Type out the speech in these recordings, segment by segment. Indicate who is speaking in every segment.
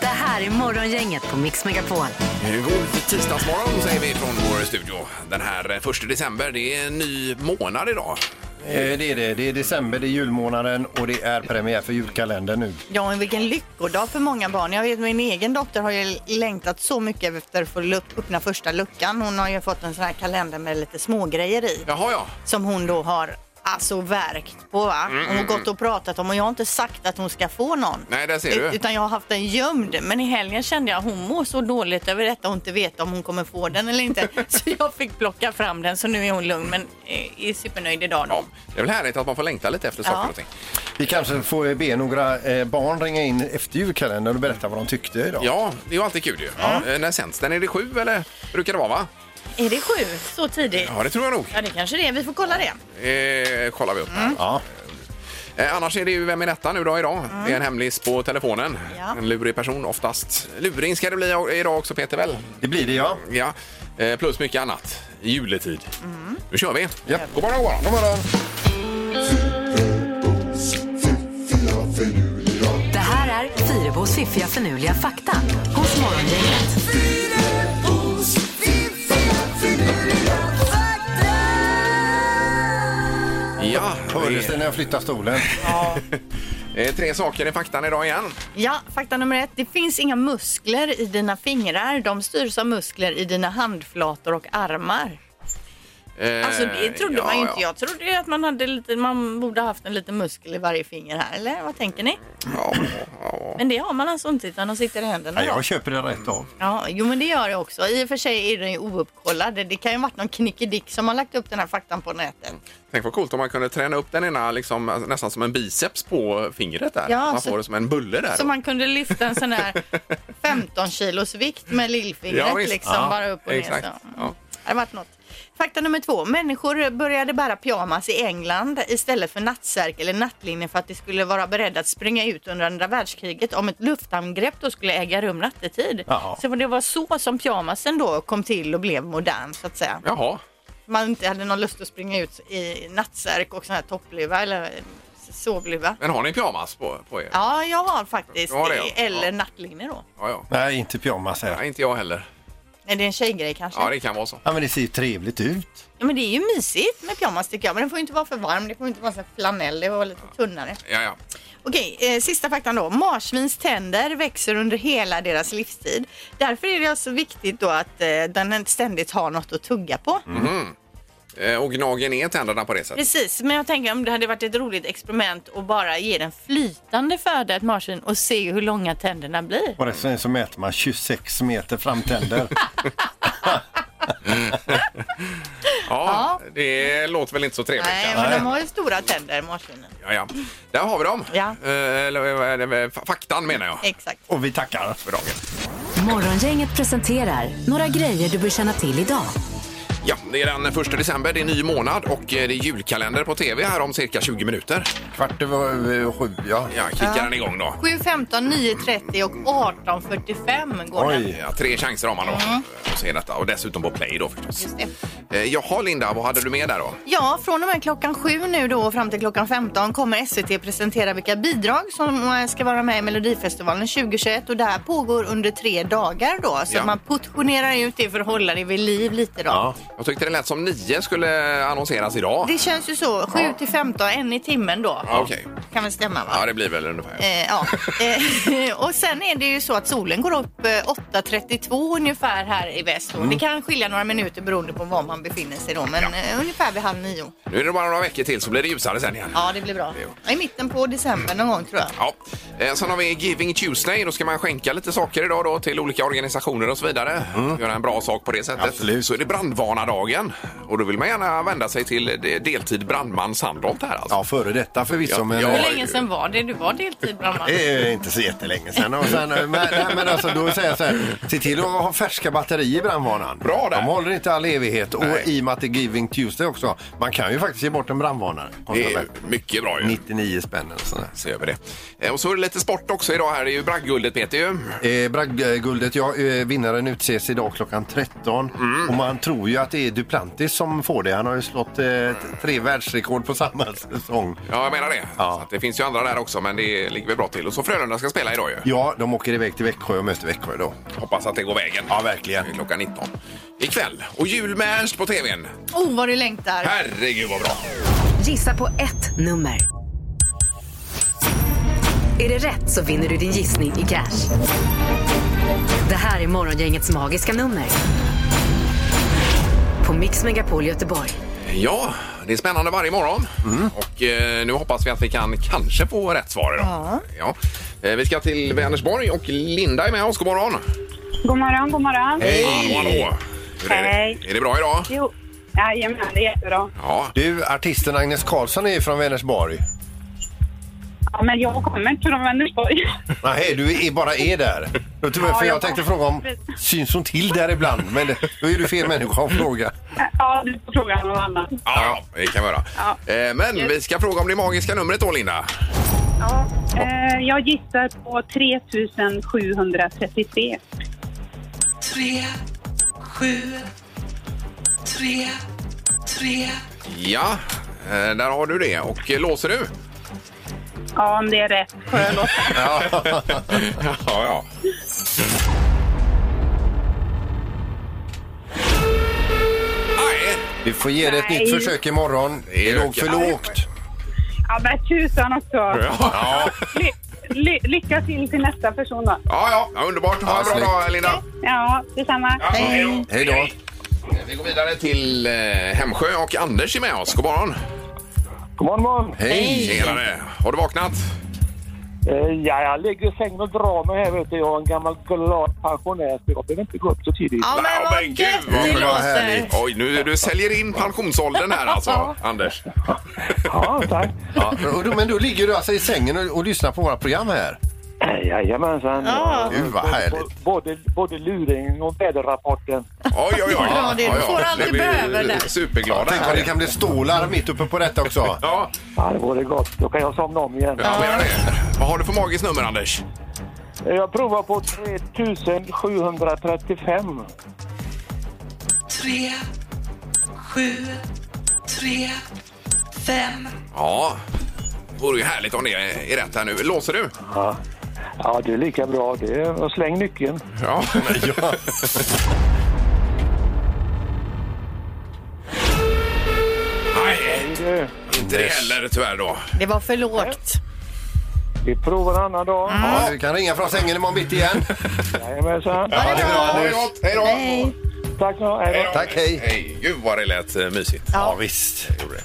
Speaker 1: Det här är Morgongänget på Mix Megapol.
Speaker 2: God tisdagsmorgon säger vi från vår studio. Den här 1 december, det är en ny månad idag.
Speaker 3: Eh, Det är det. Det är december, det är julmånaden och det är premiär för julkalendern nu.
Speaker 4: Ja, men vilken lyckodag för många barn. Jag vet min egen dotter har ju längtat så mycket efter att få luck- öppna första luckan. Hon har ju fått en sån här kalender med lite smågrejer i.
Speaker 2: Jaha, ja. Mm,
Speaker 4: Som hon då har alltså verkt på va? Hon har gått och pratat om och jag har inte sagt att hon ska få någon.
Speaker 2: Nej, där ser du.
Speaker 4: Ut- Utan jag har haft den gömd. Men i helgen kände jag att hon mår så dåligt över detta och inte vet om hon kommer få den eller inte. så jag fick plocka fram den så nu är hon lugn men eh, är supernöjd idag då.
Speaker 2: ja. Det är väl härligt att man får längta lite efter saker
Speaker 4: Ja.
Speaker 2: och ting.
Speaker 3: Vi kanske får be några eh, barn ringa in efter julkalendern och berätta vad de tyckte idag.
Speaker 2: Ja, det är ju alltid kul ju. Eh, När sänds den? Är det sju eller brukar det vara va?
Speaker 4: Är det sju så tidigt?
Speaker 2: Ja, det tror jag nog.
Speaker 4: Ja det kanske det är. Vi får kolla det.
Speaker 2: Eh, kollar vi upp här.
Speaker 4: Mm.
Speaker 3: Ja.
Speaker 2: Eh, annars är det ju Vem är detta nu då idag? Det är en hemlis på telefonen.
Speaker 4: Mm. Ja.
Speaker 2: En lurig person oftast. Luring ska det bli idag också Peter väl?
Speaker 3: Det blir det ja.
Speaker 2: Ja. Eh, plus mycket annat. I Juletid.
Speaker 4: Mm.
Speaker 2: Nu kör vi.
Speaker 3: Ja.
Speaker 2: God morgon, god morgon.
Speaker 3: God morgon.
Speaker 1: Det här är Fyrabos fiffiga förnuliga fakta hos Morgongänget.
Speaker 2: Ja,
Speaker 3: Hördes det när jag flyttade stolen?
Speaker 2: Eh, Tre saker i faktan idag igen.
Speaker 4: Ja, fakta nummer ett. Det finns inga muskler i dina fingrar. De styrs av muskler i dina handflator och armar.
Speaker 2: Eh,
Speaker 4: Alltså det trodde
Speaker 2: ja,
Speaker 4: man ju inte.
Speaker 2: Ja.
Speaker 4: Jag trodde ju att man, hade lite, man borde ha haft en liten muskel i varje finger här. Eller vad tänker ni?
Speaker 2: Ja, ja.
Speaker 4: Men det har man alltså inte utan de sitter i händerna.
Speaker 3: Nej,
Speaker 4: då.
Speaker 3: jag köper det rätt av.
Speaker 4: Ja, jo men det gör jag också. I och för sig är den ju ouppkollad. Det kan ju ha varit någon knickedick som har lagt upp den här faktan på nätet.
Speaker 2: Tänk vad coolt om man kunde träna upp den ena liksom, alltså, nästan som en biceps på fingret där.
Speaker 4: Ja,
Speaker 2: man
Speaker 4: så-
Speaker 2: får det som en bulle där.
Speaker 4: Så man kunde lyfta en sån här 15 kilos vikt med lillfingret
Speaker 2: Ja, visst.
Speaker 4: liksom
Speaker 2: Ja,
Speaker 4: bara upp och ner.
Speaker 2: exakt.
Speaker 4: Så.
Speaker 2: Ja.
Speaker 4: Det hade varit något. Fakta nummer två. Människor började bära pyjamas i England istället för nattsärk eller nattlinne för att de skulle vara beredda att springa ut under andra världskriget om ett luftangrepp då skulle äga rum nattetid.
Speaker 3: Ja.
Speaker 4: Så det var så som pyjamasen då kom till och blev modern så att säga.
Speaker 2: Jaha.
Speaker 4: Man inte hade någon lust att springa ut i nattsärk och sån här toppluva eller sovluva.
Speaker 2: Men har ni pyjamas på, på er?
Speaker 4: Ja, jag har faktiskt.
Speaker 2: Ja, det har jag.
Speaker 4: Eller
Speaker 2: Ja.
Speaker 4: nattlinne då.
Speaker 2: Ja, ja.
Speaker 3: Nej, inte pyjamas här.
Speaker 2: Nej, inte jag heller.
Speaker 4: Är det en tjejgrej kanske?
Speaker 2: Ja, det kan vara så.
Speaker 3: Ja, men det ser ju trevligt ut.
Speaker 4: Ja, men det är ju mysigt med pyjamas tycker jag. Men den får ju inte vara för varm. Det får inte vara så här flanell. Det var lite tunnare.
Speaker 2: Ja, ja.
Speaker 4: Okej, eh, sista faktan då. Marsvins tänder växer under hela deras livstid. Därför är det alltså viktigt då att eh, den ständigt har något att tugga på.
Speaker 2: Mhm. Mm. Eh, Och gnager ner tänderna på det sättet.
Speaker 4: Mm. Precis, men jag tänker om det hade varit ett roligt experiment att bara ge den flytande föda ett marsvin och se hur långa tänderna blir.
Speaker 3: Och dessutom så mäter man 26 meter framtänder.
Speaker 2: Ja, det låter väl inte så trevligt.
Speaker 4: Nej,
Speaker 2: kanske.
Speaker 4: men de har ju stora tänder, marsvinen.
Speaker 2: Ja, ja. Där har vi dem.
Speaker 4: Ja.
Speaker 2: Eh, Eller, vad är det? F- faktan menar jag.
Speaker 4: Exakt.
Speaker 3: Och vi tackar.
Speaker 2: För dagen.
Speaker 1: Morgongänget presenterar några grejer du bör känna till idag.
Speaker 2: Ja, det är den 1 december, det är ny månad och eh, det är julkalender på tv här om cirka 20 minuter.
Speaker 3: Kvart över över sju, ja.
Speaker 2: Ja, kickar den igång då.
Speaker 4: 7.15, 9.30 och 18.45 går den.
Speaker 3: Oj.
Speaker 2: Ja, tre chanser har man då
Speaker 4: Mm.
Speaker 2: att se detta och dessutom på play då förstås. Just det. Jaha Linda, vad hade du med där då?
Speaker 4: Ja, från och med klockan sju nu då och fram till klockan 15 kommer SVT presentera vilka bidrag som eh, ska vara med i Melodifestivalen 2021 och det här pågår under tre dagar då. Så
Speaker 2: Ja.
Speaker 4: man portionerar ut det för att hålla det vid liv lite då.
Speaker 2: Jag tyckte det lät som nio skulle annonseras idag.
Speaker 4: Det känns ju så, 7 till 15, en i timmen då.
Speaker 2: Ja, Okej,
Speaker 4: Kan väl stämma va?
Speaker 2: ja det blir väl ungefär.
Speaker 4: Eh, ja. Eh, och sen är det ju så att solen går upp eh, 8.32 ungefär här i väst. och
Speaker 2: Mm.
Speaker 4: Det kan skilja några minuter beroende på var man befinner sig då, men eh, ungefär vid halv nio.
Speaker 2: Nu är det bara några veckor till så blir det ljusare sen igen.
Speaker 4: Ja, det blir bra.
Speaker 2: Jo.
Speaker 4: I mitten på december någon gång tror jag.
Speaker 2: Ja. Eh, Sen har vi Giving Tuesday. Då ska man skänka lite saker idag då till olika organisationer och så vidare. Göra en bra sak på det sättet.
Speaker 3: Mm. Absolut.
Speaker 2: Så är det brandvarnare brandmannadagen. Och då vill man gärna vända sig till eh, deltid brandman Sandholt här alltså.
Speaker 3: Ja, före detta förvisso,
Speaker 2: Ja,
Speaker 3: men
Speaker 2: ja.
Speaker 4: Hur
Speaker 3: eh,
Speaker 4: länge sedan var det du var deltid brandman?
Speaker 3: det är ju inte så jättelänge sedan. Och sen, eh, men, nej, men alltså, då säger jag så här, se till att ha färska batterier i brandvarnaren.
Speaker 2: Bra där.
Speaker 3: De håller inte all evighet. Och
Speaker 2: Nej.
Speaker 3: i och med att det är Giving Tuesday också, man kan ju faktiskt ge bort en brandvarnare.
Speaker 2: Det är mycket bra ju.
Speaker 3: 99 spänn eller sådär.
Speaker 2: Se över det. Eh, Och så är det lite sport också idag här. Det är ju Bragguldet Peter ju.
Speaker 3: Eh, Bragguldet, ja, eh, vinnaren utses idag klockan 13.
Speaker 2: Mm.
Speaker 3: Och man tror ju att det är Duplantis som får det. Han har ju slått eh, tre världsrekord på samma säsong.
Speaker 2: Ja, jag menar det.
Speaker 3: Ja.
Speaker 2: Så att det finns ju andra där också, men det ligger väl bra till. Och så Frölunda ska spela idag ju.
Speaker 3: Ja, de åker iväg till Växjö och möter Växjö då.
Speaker 2: Hoppas att det går vägen.
Speaker 3: Ja, verkligen.
Speaker 2: Klockan 19. Ikväll. Och jul med Ernst på tvn.
Speaker 4: Oh, vad du längtar.
Speaker 2: Herregud vad bra.
Speaker 1: Gissa på ett nummer. Är det rätt så vinner du din gissning i cash. Det här är Morgongängets magiska nummer. På Mix Megapol Göteborg.
Speaker 2: Ja, det är spännande varje morgon. Och eh, nu hoppas vi att vi kan kanske få rätt svar idag. Ja. Eh, vi ska till Vänersborg och Linda är med oss. God morgon.
Speaker 5: God morgon, god morgon.
Speaker 2: Hallå, hallå. Hur är
Speaker 5: Hej.
Speaker 2: det? Är det bra idag?
Speaker 5: Jo, jajamän, det är jättebra.
Speaker 2: Ja.
Speaker 3: Du, artisten Agnes Karlsson är ju från Vänersborg.
Speaker 5: Ja, men jag kommer inte från Vänersborg.
Speaker 3: Nej, du är, bara är där. Då tror jag,
Speaker 5: Ja,
Speaker 3: för jag
Speaker 5: jag-
Speaker 3: tänkte fråga om syns hon till där ibland? Men det, då är du fel människa att fråga.
Speaker 5: ja, du får fråga någon annan.
Speaker 2: Ja, ja, det kan vi göra.
Speaker 5: Ja.
Speaker 2: Eh, men vi ska fråga om det magiska numret då, Linda.
Speaker 5: Ja. Eh, jag gissar på 3733.
Speaker 2: Ja, eh, där har du det. Och eh, låser du?
Speaker 5: Ja, om det är rätt får jag låta.
Speaker 2: ja, ja. Nej,
Speaker 3: Vi får ge det ett
Speaker 5: Nej.
Speaker 3: nytt försök imorgon.
Speaker 2: Det
Speaker 3: Det
Speaker 2: är
Speaker 3: låg för
Speaker 2: okej.
Speaker 3: lågt.
Speaker 5: Ja, men tusan också.
Speaker 2: Ja,
Speaker 5: Ly ly lycka till till nästa person då.
Speaker 2: ja, ja, ja underbart. Ha en bra
Speaker 3: snyggt.
Speaker 2: dag, Linda.
Speaker 5: Ja, detsamma.
Speaker 2: Ja, hej då.
Speaker 3: Hej då.
Speaker 2: Vi går vidare till eh, Hemsjö och Anders är med oss. God morgon.
Speaker 6: God morgon, morgon.
Speaker 3: Hej!
Speaker 2: Tjenare. Har du vaknat?
Speaker 6: Eh, ja, jag ligger i sängen och drar mig här. Vet du. Jag är en gammal glad pensionär, så jag behöver inte gå upp så tidigt.
Speaker 4: Ja, men
Speaker 2: Ja,
Speaker 4: vad
Speaker 2: men
Speaker 4: gött
Speaker 2: gud, vad
Speaker 4: det
Speaker 2: skönt.
Speaker 4: låter.
Speaker 3: härligt.
Speaker 2: Oj, nu du säljer in pensionsåldern här alltså, Anders.
Speaker 6: Ja, tack.
Speaker 3: Ja, och då, men då ligger du alltså i sängen och, och lyssnar på våra program här?
Speaker 6: Eh, Jajamensan.
Speaker 4: Ja.
Speaker 3: Gud, vad härligt.
Speaker 6: B- Både, både luringen och väderrapporten.
Speaker 2: Oj, oj, oj.
Speaker 4: Ja, det- du får allt
Speaker 2: Nu
Speaker 4: du
Speaker 2: blir
Speaker 4: behöver där.
Speaker 2: Superglada
Speaker 3: Tänk vad det
Speaker 2: här.
Speaker 3: kan bli stålar mitt uppe på detta också.
Speaker 2: Ja,
Speaker 6: Ja, det vore gott. Då kan jag somna om igen.
Speaker 2: jag menar det. Vad har du för magiskt nummer, Anders?
Speaker 6: Eh, Jag provar på 3735.
Speaker 2: Ja, det vore ju härligt om det är rätt här nu. Låser du?
Speaker 6: Ja, det är lika bra. Det är, och släng nyckeln.
Speaker 2: Ja.
Speaker 3: Ja.
Speaker 2: Nej,
Speaker 6: Det är det.
Speaker 2: inte det heller tyvärr då.
Speaker 4: Det var för lågt.
Speaker 6: Vi provar en annan dag.
Speaker 3: Ja, du kan ringa från sängen imorgon bitti igen.
Speaker 6: Jajamensan.
Speaker 3: Ja, det är bra
Speaker 2: Ha det
Speaker 3: Anders.
Speaker 2: gott. Hej då! Hej
Speaker 6: Tack så mycket.
Speaker 2: då.
Speaker 3: Tack, hej.
Speaker 2: hej! Gud vad det lät eh, mysigt.
Speaker 3: Ja, visst.
Speaker 2: Det gjorde det.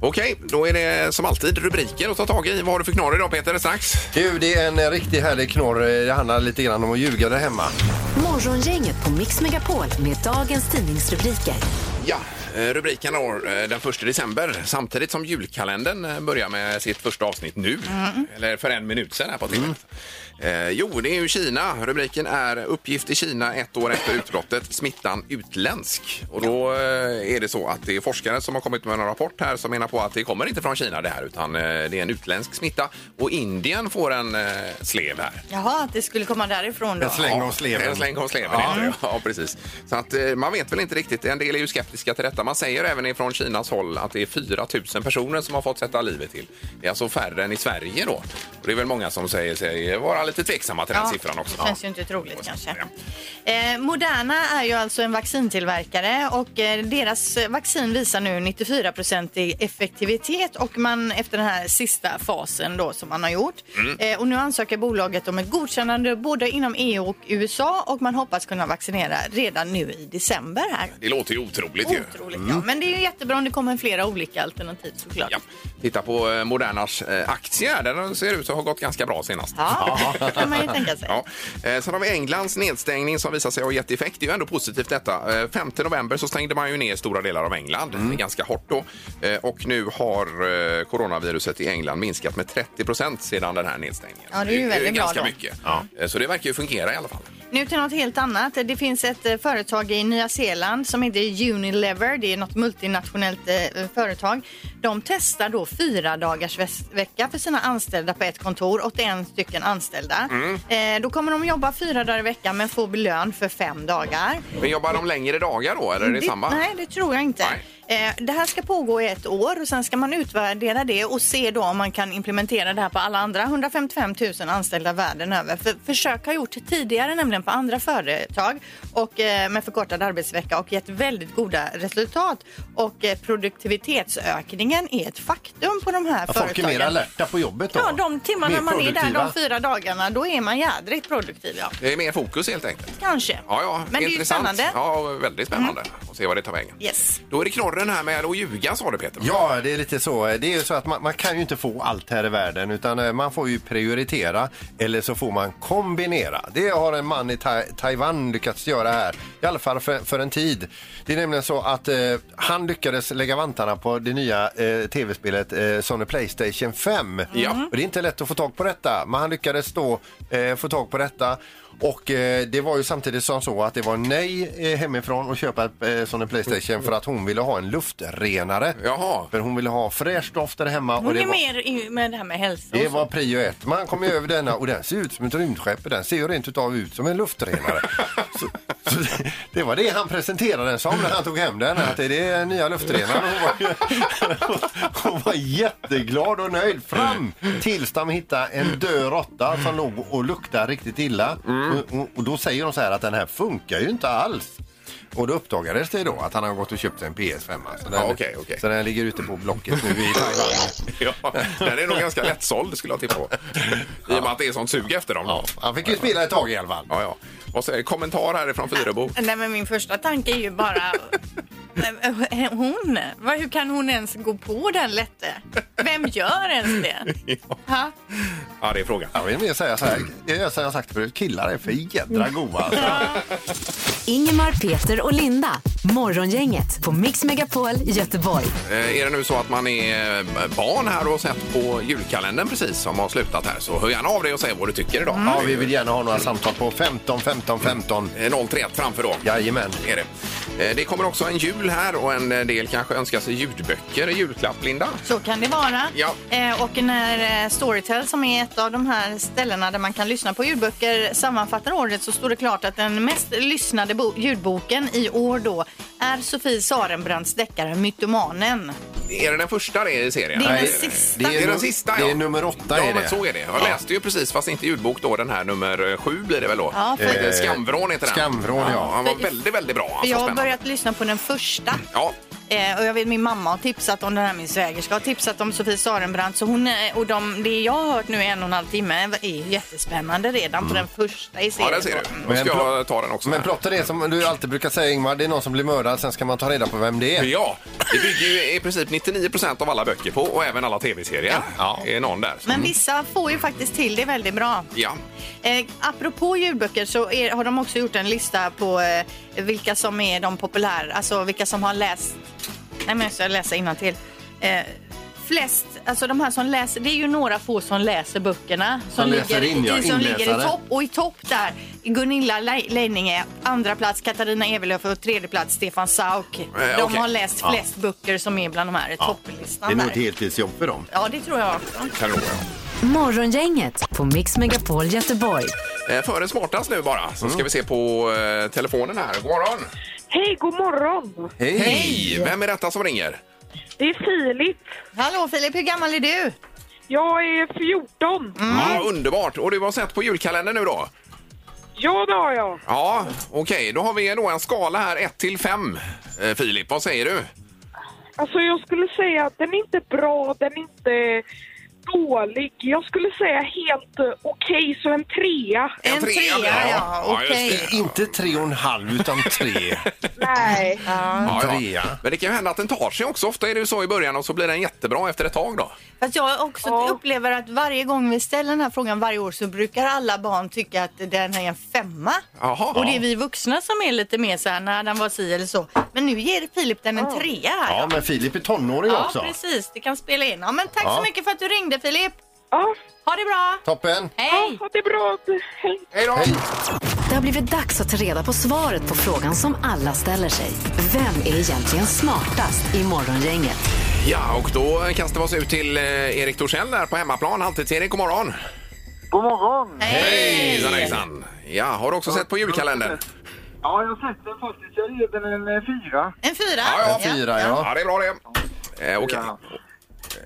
Speaker 2: Okej, då är det som alltid rubriker att ta tag i. Vad har du för knorr idag Peter strax?
Speaker 3: Du, det är en eh, riktig härlig knorr. Eh, Det handlar lite grann om att ljuga där hemma.
Speaker 1: Morgongänget på Mix Megapol med dagens tidningsrubriker.
Speaker 2: Ja, eh, rubriken har eh, den 1 december samtidigt som julkalendern eh, börjar med sitt första avsnitt nu. Eller för en minut sedan här på timmen. Eh, jo, det är ju Kina. Rubriken är Uppgift i Kina ett år efter utbrottet. Smittan utländsk. Och då eh, är det så att det är forskare som har kommit med en rapport här som menar på att det kommer inte från Kina det här utan eh, det är en utländsk smitta. Och Indien får en eh, slev här.
Speaker 4: Jaha, att det skulle komma därifrån då.
Speaker 3: En släng av
Speaker 2: En
Speaker 3: sleven.
Speaker 2: släng av sleven
Speaker 3: Ja.
Speaker 2: heter det. ja, precis. Så att, eh, man vet väl inte riktigt. En del är ju skeptiska till detta. Man säger även ifrån Kinas håll att det är 4 000 personer som har fått sätta livet till. Det är alltså färre än i Sverige då. Och det är väl många som säger sig vara lite tveksamma till den siffran också.
Speaker 4: Det känns ju inte troligt kanske. Eh, Moderna är ju alltså en vaccintillverkare och eh, deras vaccin visar nu 94 i effektivitet och man efter den här sista fasen då som man har gjort.
Speaker 2: Mm.
Speaker 4: Eh, och nu ansöker bolaget om ett godkännande både inom EU och USA och man hoppas kunna vaccinera redan nu i december här.
Speaker 2: Det låter ju otroligt ju. Mm.
Speaker 4: Otroligt, ja. Men det är ju jättebra om det kommer flera olika alternativ såklart.
Speaker 2: Ja. Titta på eh, Modernas eh, aktie. här. Den ser ut att ha gått ganska bra senast.
Speaker 4: Ja. det kan man ju tänka sig.
Speaker 2: Ja. Eh, Sen har vi Englands nedstängning som visar sig ha gett effekt. Det är ju ändå positivt detta. Eh, 5 november så stängde man ju ner stora delar av England,
Speaker 4: Mm.
Speaker 2: ganska hårt då. Eh, Och nu har eh, coronaviruset i England minskat med 30 procent sedan den här nedstängningen.
Speaker 4: Ja, det är ju väldigt bra
Speaker 2: ganska
Speaker 4: då.
Speaker 2: mycket. Eh, Så det verkar ju fungera i alla fall.
Speaker 4: Nu till något helt annat. Det finns ett eh, företag i Nya Zeeland som heter Unilever. Det är något multinationellt eh, företag. De testar då fyra dagars väs- vecka för sina anställda på ett kontor, 81 stycken anställda.
Speaker 2: Mm.
Speaker 4: Eh, då kommer de jobba fyra dagar i veckan men får lön för fem dagar.
Speaker 2: Men jobbar de längre dagar då, eller är det, samma?
Speaker 4: Nej, Mm, det tror jag inte.
Speaker 2: Nej.
Speaker 4: Eh, Det här ska pågå i ett år och sen ska man utvärdera det och se då om man kan implementera det här på alla andra 155 000 anställda världen över. För försök har gjorts tidigare nämligen på andra företag och eh, med förkortad arbetsvecka och gett väldigt goda resultat. Och eh, produktivitetsökningen är ett faktum på de här
Speaker 3: Ja, folk är
Speaker 4: företagen.
Speaker 3: mer alerta på jobbet då?
Speaker 4: Ja, de timmarna
Speaker 3: Mer
Speaker 4: man är där
Speaker 3: produktiva.
Speaker 4: de fyra dagarna, då är man jädrigt produktiv. Ja.
Speaker 2: Det är mer fokus helt enkelt.
Speaker 4: Kanske.
Speaker 2: Ja, ja,
Speaker 4: Men det är ju
Speaker 2: intressant.
Speaker 4: spännande. Mm.
Speaker 2: Ja, väldigt spännande. Och se vad det tar vägen.
Speaker 4: Yes.
Speaker 2: Då är det knorren här med att ljuga sa du Peter.
Speaker 3: Ja, det är lite så. Det är ju så att man, man kan ju inte få allt här i världen utan eh, man får ju prioritera eller så får man kombinera. Det har en man i tai Taiwan lyckats göra här, i alla fall för, för en tid. Det är nämligen så att eh, han lyckades lägga vantarna på det nya eh, tv-spelet eh, Sony Playstation 5.
Speaker 2: Ja.
Speaker 3: Och det är inte lätt att få tag på detta, men han lyckades då eh, få tag på detta. Och eh, det var ju samtidigt som så att det var nej eh, hemifrån att köpa ett eh, Sony Playstation för att hon ville ha en luftrenare.
Speaker 2: Jaha.
Speaker 3: För hon ville ha fräscht doft där hemma. och
Speaker 4: Hon
Speaker 3: det
Speaker 4: är
Speaker 3: var...
Speaker 4: mer i- med det här med hälsa och
Speaker 3: Det
Speaker 4: så.
Speaker 3: var prio ett. Man kom ju över denna och den ser ut som ett rymdskepp. Den ser ju rent utav ut som en luftrenare. Så, så det, det var det han presenterade den som när han tog hem den. Att det är den nya luftrenaren. Hon var, ju, hon var jätteglad och nöjd fram tills de hittade en död råtta som låg och luktade riktigt illa.
Speaker 2: Mm.
Speaker 3: Och, och, och då säger de så här att den här funkar ju inte alls. Och då uppdagades det då att han har gått och köpt sig en PS5. Så alltså. den,
Speaker 2: Ja, okej, okej.
Speaker 3: så den ligger ute på Blocket nu i Taiwan.
Speaker 2: Ja, den är nog ganska lättsåld skulle jag tippa på. I och med att det är sånt sug efter dem.
Speaker 3: Ja, han fick ju spela ett tag i alla fall.
Speaker 2: Ja, ja. Och så är det kommentar härifrån Fyrebo.
Speaker 4: Nej, men min första tanke är ju bara... Hon? Vad- Hur kan hon ens gå på den lätte? Vem gör ens det? Ha?
Speaker 2: Ja, det är frågan.
Speaker 3: Jag vill mer säga så här, jag gör som jag sagt förut, killar är för jädra
Speaker 2: Mm.
Speaker 3: goa. Alltså.
Speaker 1: Ingemar, Peter och Linda. Morgongänget på Mix Megapol Göteborg.
Speaker 2: Eh, Är det nu så att man är eh, barn här och har sett på julkalendern precis som har slutat här så hör gärna av dig och säg vad du tycker idag.
Speaker 3: Mm. Ja, vi vill gärna ha några samtal på 15 15 15.
Speaker 2: Eh, 031 framför då.
Speaker 3: Jajamän.
Speaker 2: Är det. Eh, det kommer också en jul här och en eh, del kanske önskar sig ljudböcker i julklapp, Linda.
Speaker 4: Så kan det vara.
Speaker 2: Ja.
Speaker 4: Eh, och när eh, Storytel, som är ett av de här ställena där man kan lyssna på ljudböcker, sammanfattar året så står det klart att den mest lyssnade bo- ljudboken i år då är Sofie Sarenbrants deckare Mytomanen.
Speaker 2: Är det den första det är i serien?
Speaker 4: Det är den
Speaker 2: Nej.
Speaker 4: sista.
Speaker 2: Det är
Speaker 3: nu-
Speaker 2: den sista,
Speaker 3: Det
Speaker 2: ja.
Speaker 3: är nummer åtta
Speaker 2: Ja,
Speaker 3: är
Speaker 2: men
Speaker 3: det.
Speaker 2: så är det. Jag läste ju precis, fast inte ljudbok då, den här nummer eh, sju blir det väl då?
Speaker 4: Ja, för-
Speaker 2: Eh, Skamvrån heter den.
Speaker 3: Skamvrån, ja.
Speaker 2: Han var väldigt, väldigt bra. Alltså,
Speaker 4: Jag har
Speaker 2: spännande.
Speaker 4: börjat lyssna på den första.
Speaker 2: Ja,
Speaker 4: Eh, och jag vet min mamma har tipsat om den här, min svägerska har tipsat om Sofie Sarenbrant. Så hon, eh, och de, det jag har hört nu i en och en halv timme eh, är jättespännande redan på den första i
Speaker 2: Mm. ja
Speaker 4: serien.
Speaker 2: där ser du. Då
Speaker 3: Men
Speaker 2: ska
Speaker 3: pl-
Speaker 2: jag ta den också.
Speaker 3: Men
Speaker 2: här.
Speaker 3: plotten är som du alltid brukar säga Ingmar, det är någon som blir mördad, sen ska man ta reda på vem det är.
Speaker 2: Ja, det bygger ju i princip 99 av alla böcker på och även alla tv-serier. Ja. Det är någon där. som-
Speaker 4: Men vissa får ju faktiskt till det väldigt bra.
Speaker 2: Ja.
Speaker 4: Eh, apropå ljudböcker så är, har de också gjort en lista på eh, vilka som är de populära, alltså vilka som har läst... Nej men jag ska läsa innantill. Eh, flest, alltså de här som läser, det är ju några få som läser böckerna. Som,
Speaker 3: läser
Speaker 4: ligger,
Speaker 3: in, ja,
Speaker 4: i, som ligger i
Speaker 3: inläsare.
Speaker 4: topp. Och i topp där, Gunilla Le- Leininge, andra plats Katarina Evelöf och tredje plats Stefan Sauk.
Speaker 3: Eh,
Speaker 4: de
Speaker 2: okej.
Speaker 4: har läst flest böcker som är bland de här i
Speaker 3: Det är
Speaker 4: topplistan.
Speaker 3: nog ett
Speaker 4: Där.
Speaker 3: heltidsjobb för dem.
Speaker 4: Ja, det tror jag också.
Speaker 2: Kanon, ja.
Speaker 1: Morgongänget på Mix Megapol Göteborg.
Speaker 2: Eh, Före smartast nu bara, så ska
Speaker 3: Mm.
Speaker 2: vi se på eh, telefonen här. God morgon!
Speaker 5: Hej, god morgon!
Speaker 3: Hej!
Speaker 2: Hej! Vem är detta som ringer?
Speaker 5: Det är Filip.
Speaker 4: Hallå Filip, hur gammal är du?
Speaker 5: Jag är 14.
Speaker 4: Mm.
Speaker 2: Ja, underbart! Och du har sett på julkalendern nu då?
Speaker 5: Ja, det har jag.
Speaker 2: Ja, okej. Då har vi då en skala här, 1 till 5. Eh, Filip, vad säger du?
Speaker 5: Alltså, jag skulle säga att den är inte bra, den är inte
Speaker 6: dålig. Jag skulle säga helt eh, okej, så en trea.
Speaker 4: En trea, ja, okej.
Speaker 2: just det.
Speaker 3: Inte tre och en halv utan tre.
Speaker 6: Nej.
Speaker 2: Ja, ja.
Speaker 3: Trea.
Speaker 2: Men det kan ju hända att den tar sig också. Ofta är det ju så i början och så blir den jättebra efter ett tag då.
Speaker 4: Fast jag också
Speaker 6: Ja.
Speaker 4: upplever att varje gång vi ställer den här frågan varje år så brukar alla barn tycka att den är en femma.
Speaker 2: Jaha.
Speaker 4: Och det är vi vuxna som är lite mer så här när den var si eller så. Men nu ger Filip den en trea här.
Speaker 3: Ja, men Filip är tonåring
Speaker 4: Ja,
Speaker 3: också.
Speaker 4: precis. Det kan spela in. Ja, men tack
Speaker 3: Ja.
Speaker 4: så mycket för att du ringde Filip.
Speaker 6: Ja,
Speaker 4: Ha det bra.
Speaker 3: Toppen.
Speaker 4: Hej!
Speaker 6: ha det bra. Hej.
Speaker 2: Hej då!
Speaker 1: Det har blivit dags att ta reda på svaret på frågan som alla ställer sig. Vem är egentligen smartast i Morgongänget?
Speaker 2: Ja, och då kastar vi oss ut till eh, Erik Torssell där på hemmaplan. Halvtids-Erik, god morgon!
Speaker 7: God morgon!
Speaker 2: Hejsan hejsan! Ja, har du också sett på julkalendern?
Speaker 7: Ja, jag har sett den faktiskt. Jag ger den en eh, fyra.
Speaker 4: En fyra.
Speaker 2: Ja, ja,
Speaker 3: Fyra, ja.
Speaker 2: Ja, det är bra det. Eh, Okej. Eh,
Speaker 7: Ja.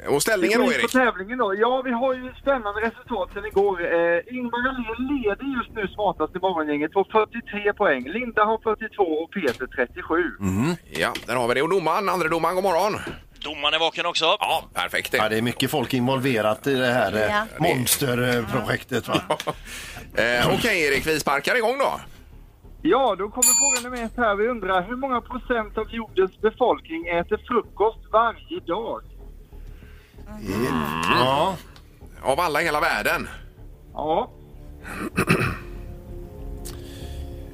Speaker 2: Och ställningen
Speaker 7: Vi
Speaker 2: då,
Speaker 7: går in
Speaker 2: Erik?
Speaker 7: på tävlingen då. Ja, vi har ju spännande resultat sedan igår. Eh, Ingmar Ahlén leder just nu smartast i morgongänget på 43 poäng. Linda har 42 och Peter 37.
Speaker 3: Mm.
Speaker 2: Ja, där har vi det. Och domaren, andra domaren, god morgon!
Speaker 8: Domaren är vaken också.
Speaker 2: Ja, perfekt
Speaker 3: Ja,
Speaker 2: det.
Speaker 3: det är mycket folk involverat i det här eh,
Speaker 4: Ja.
Speaker 3: monsterprojektet. Va?
Speaker 2: Eh, Okej Erik, vi sparkar igång då.
Speaker 7: Ja, då kommer frågan nummer ett här. Vi undrar hur många procent av jordens befolkning äter frukost varje dag?
Speaker 2: Mm.
Speaker 3: Ja.
Speaker 2: Av alla i hela världen.
Speaker 7: Ja,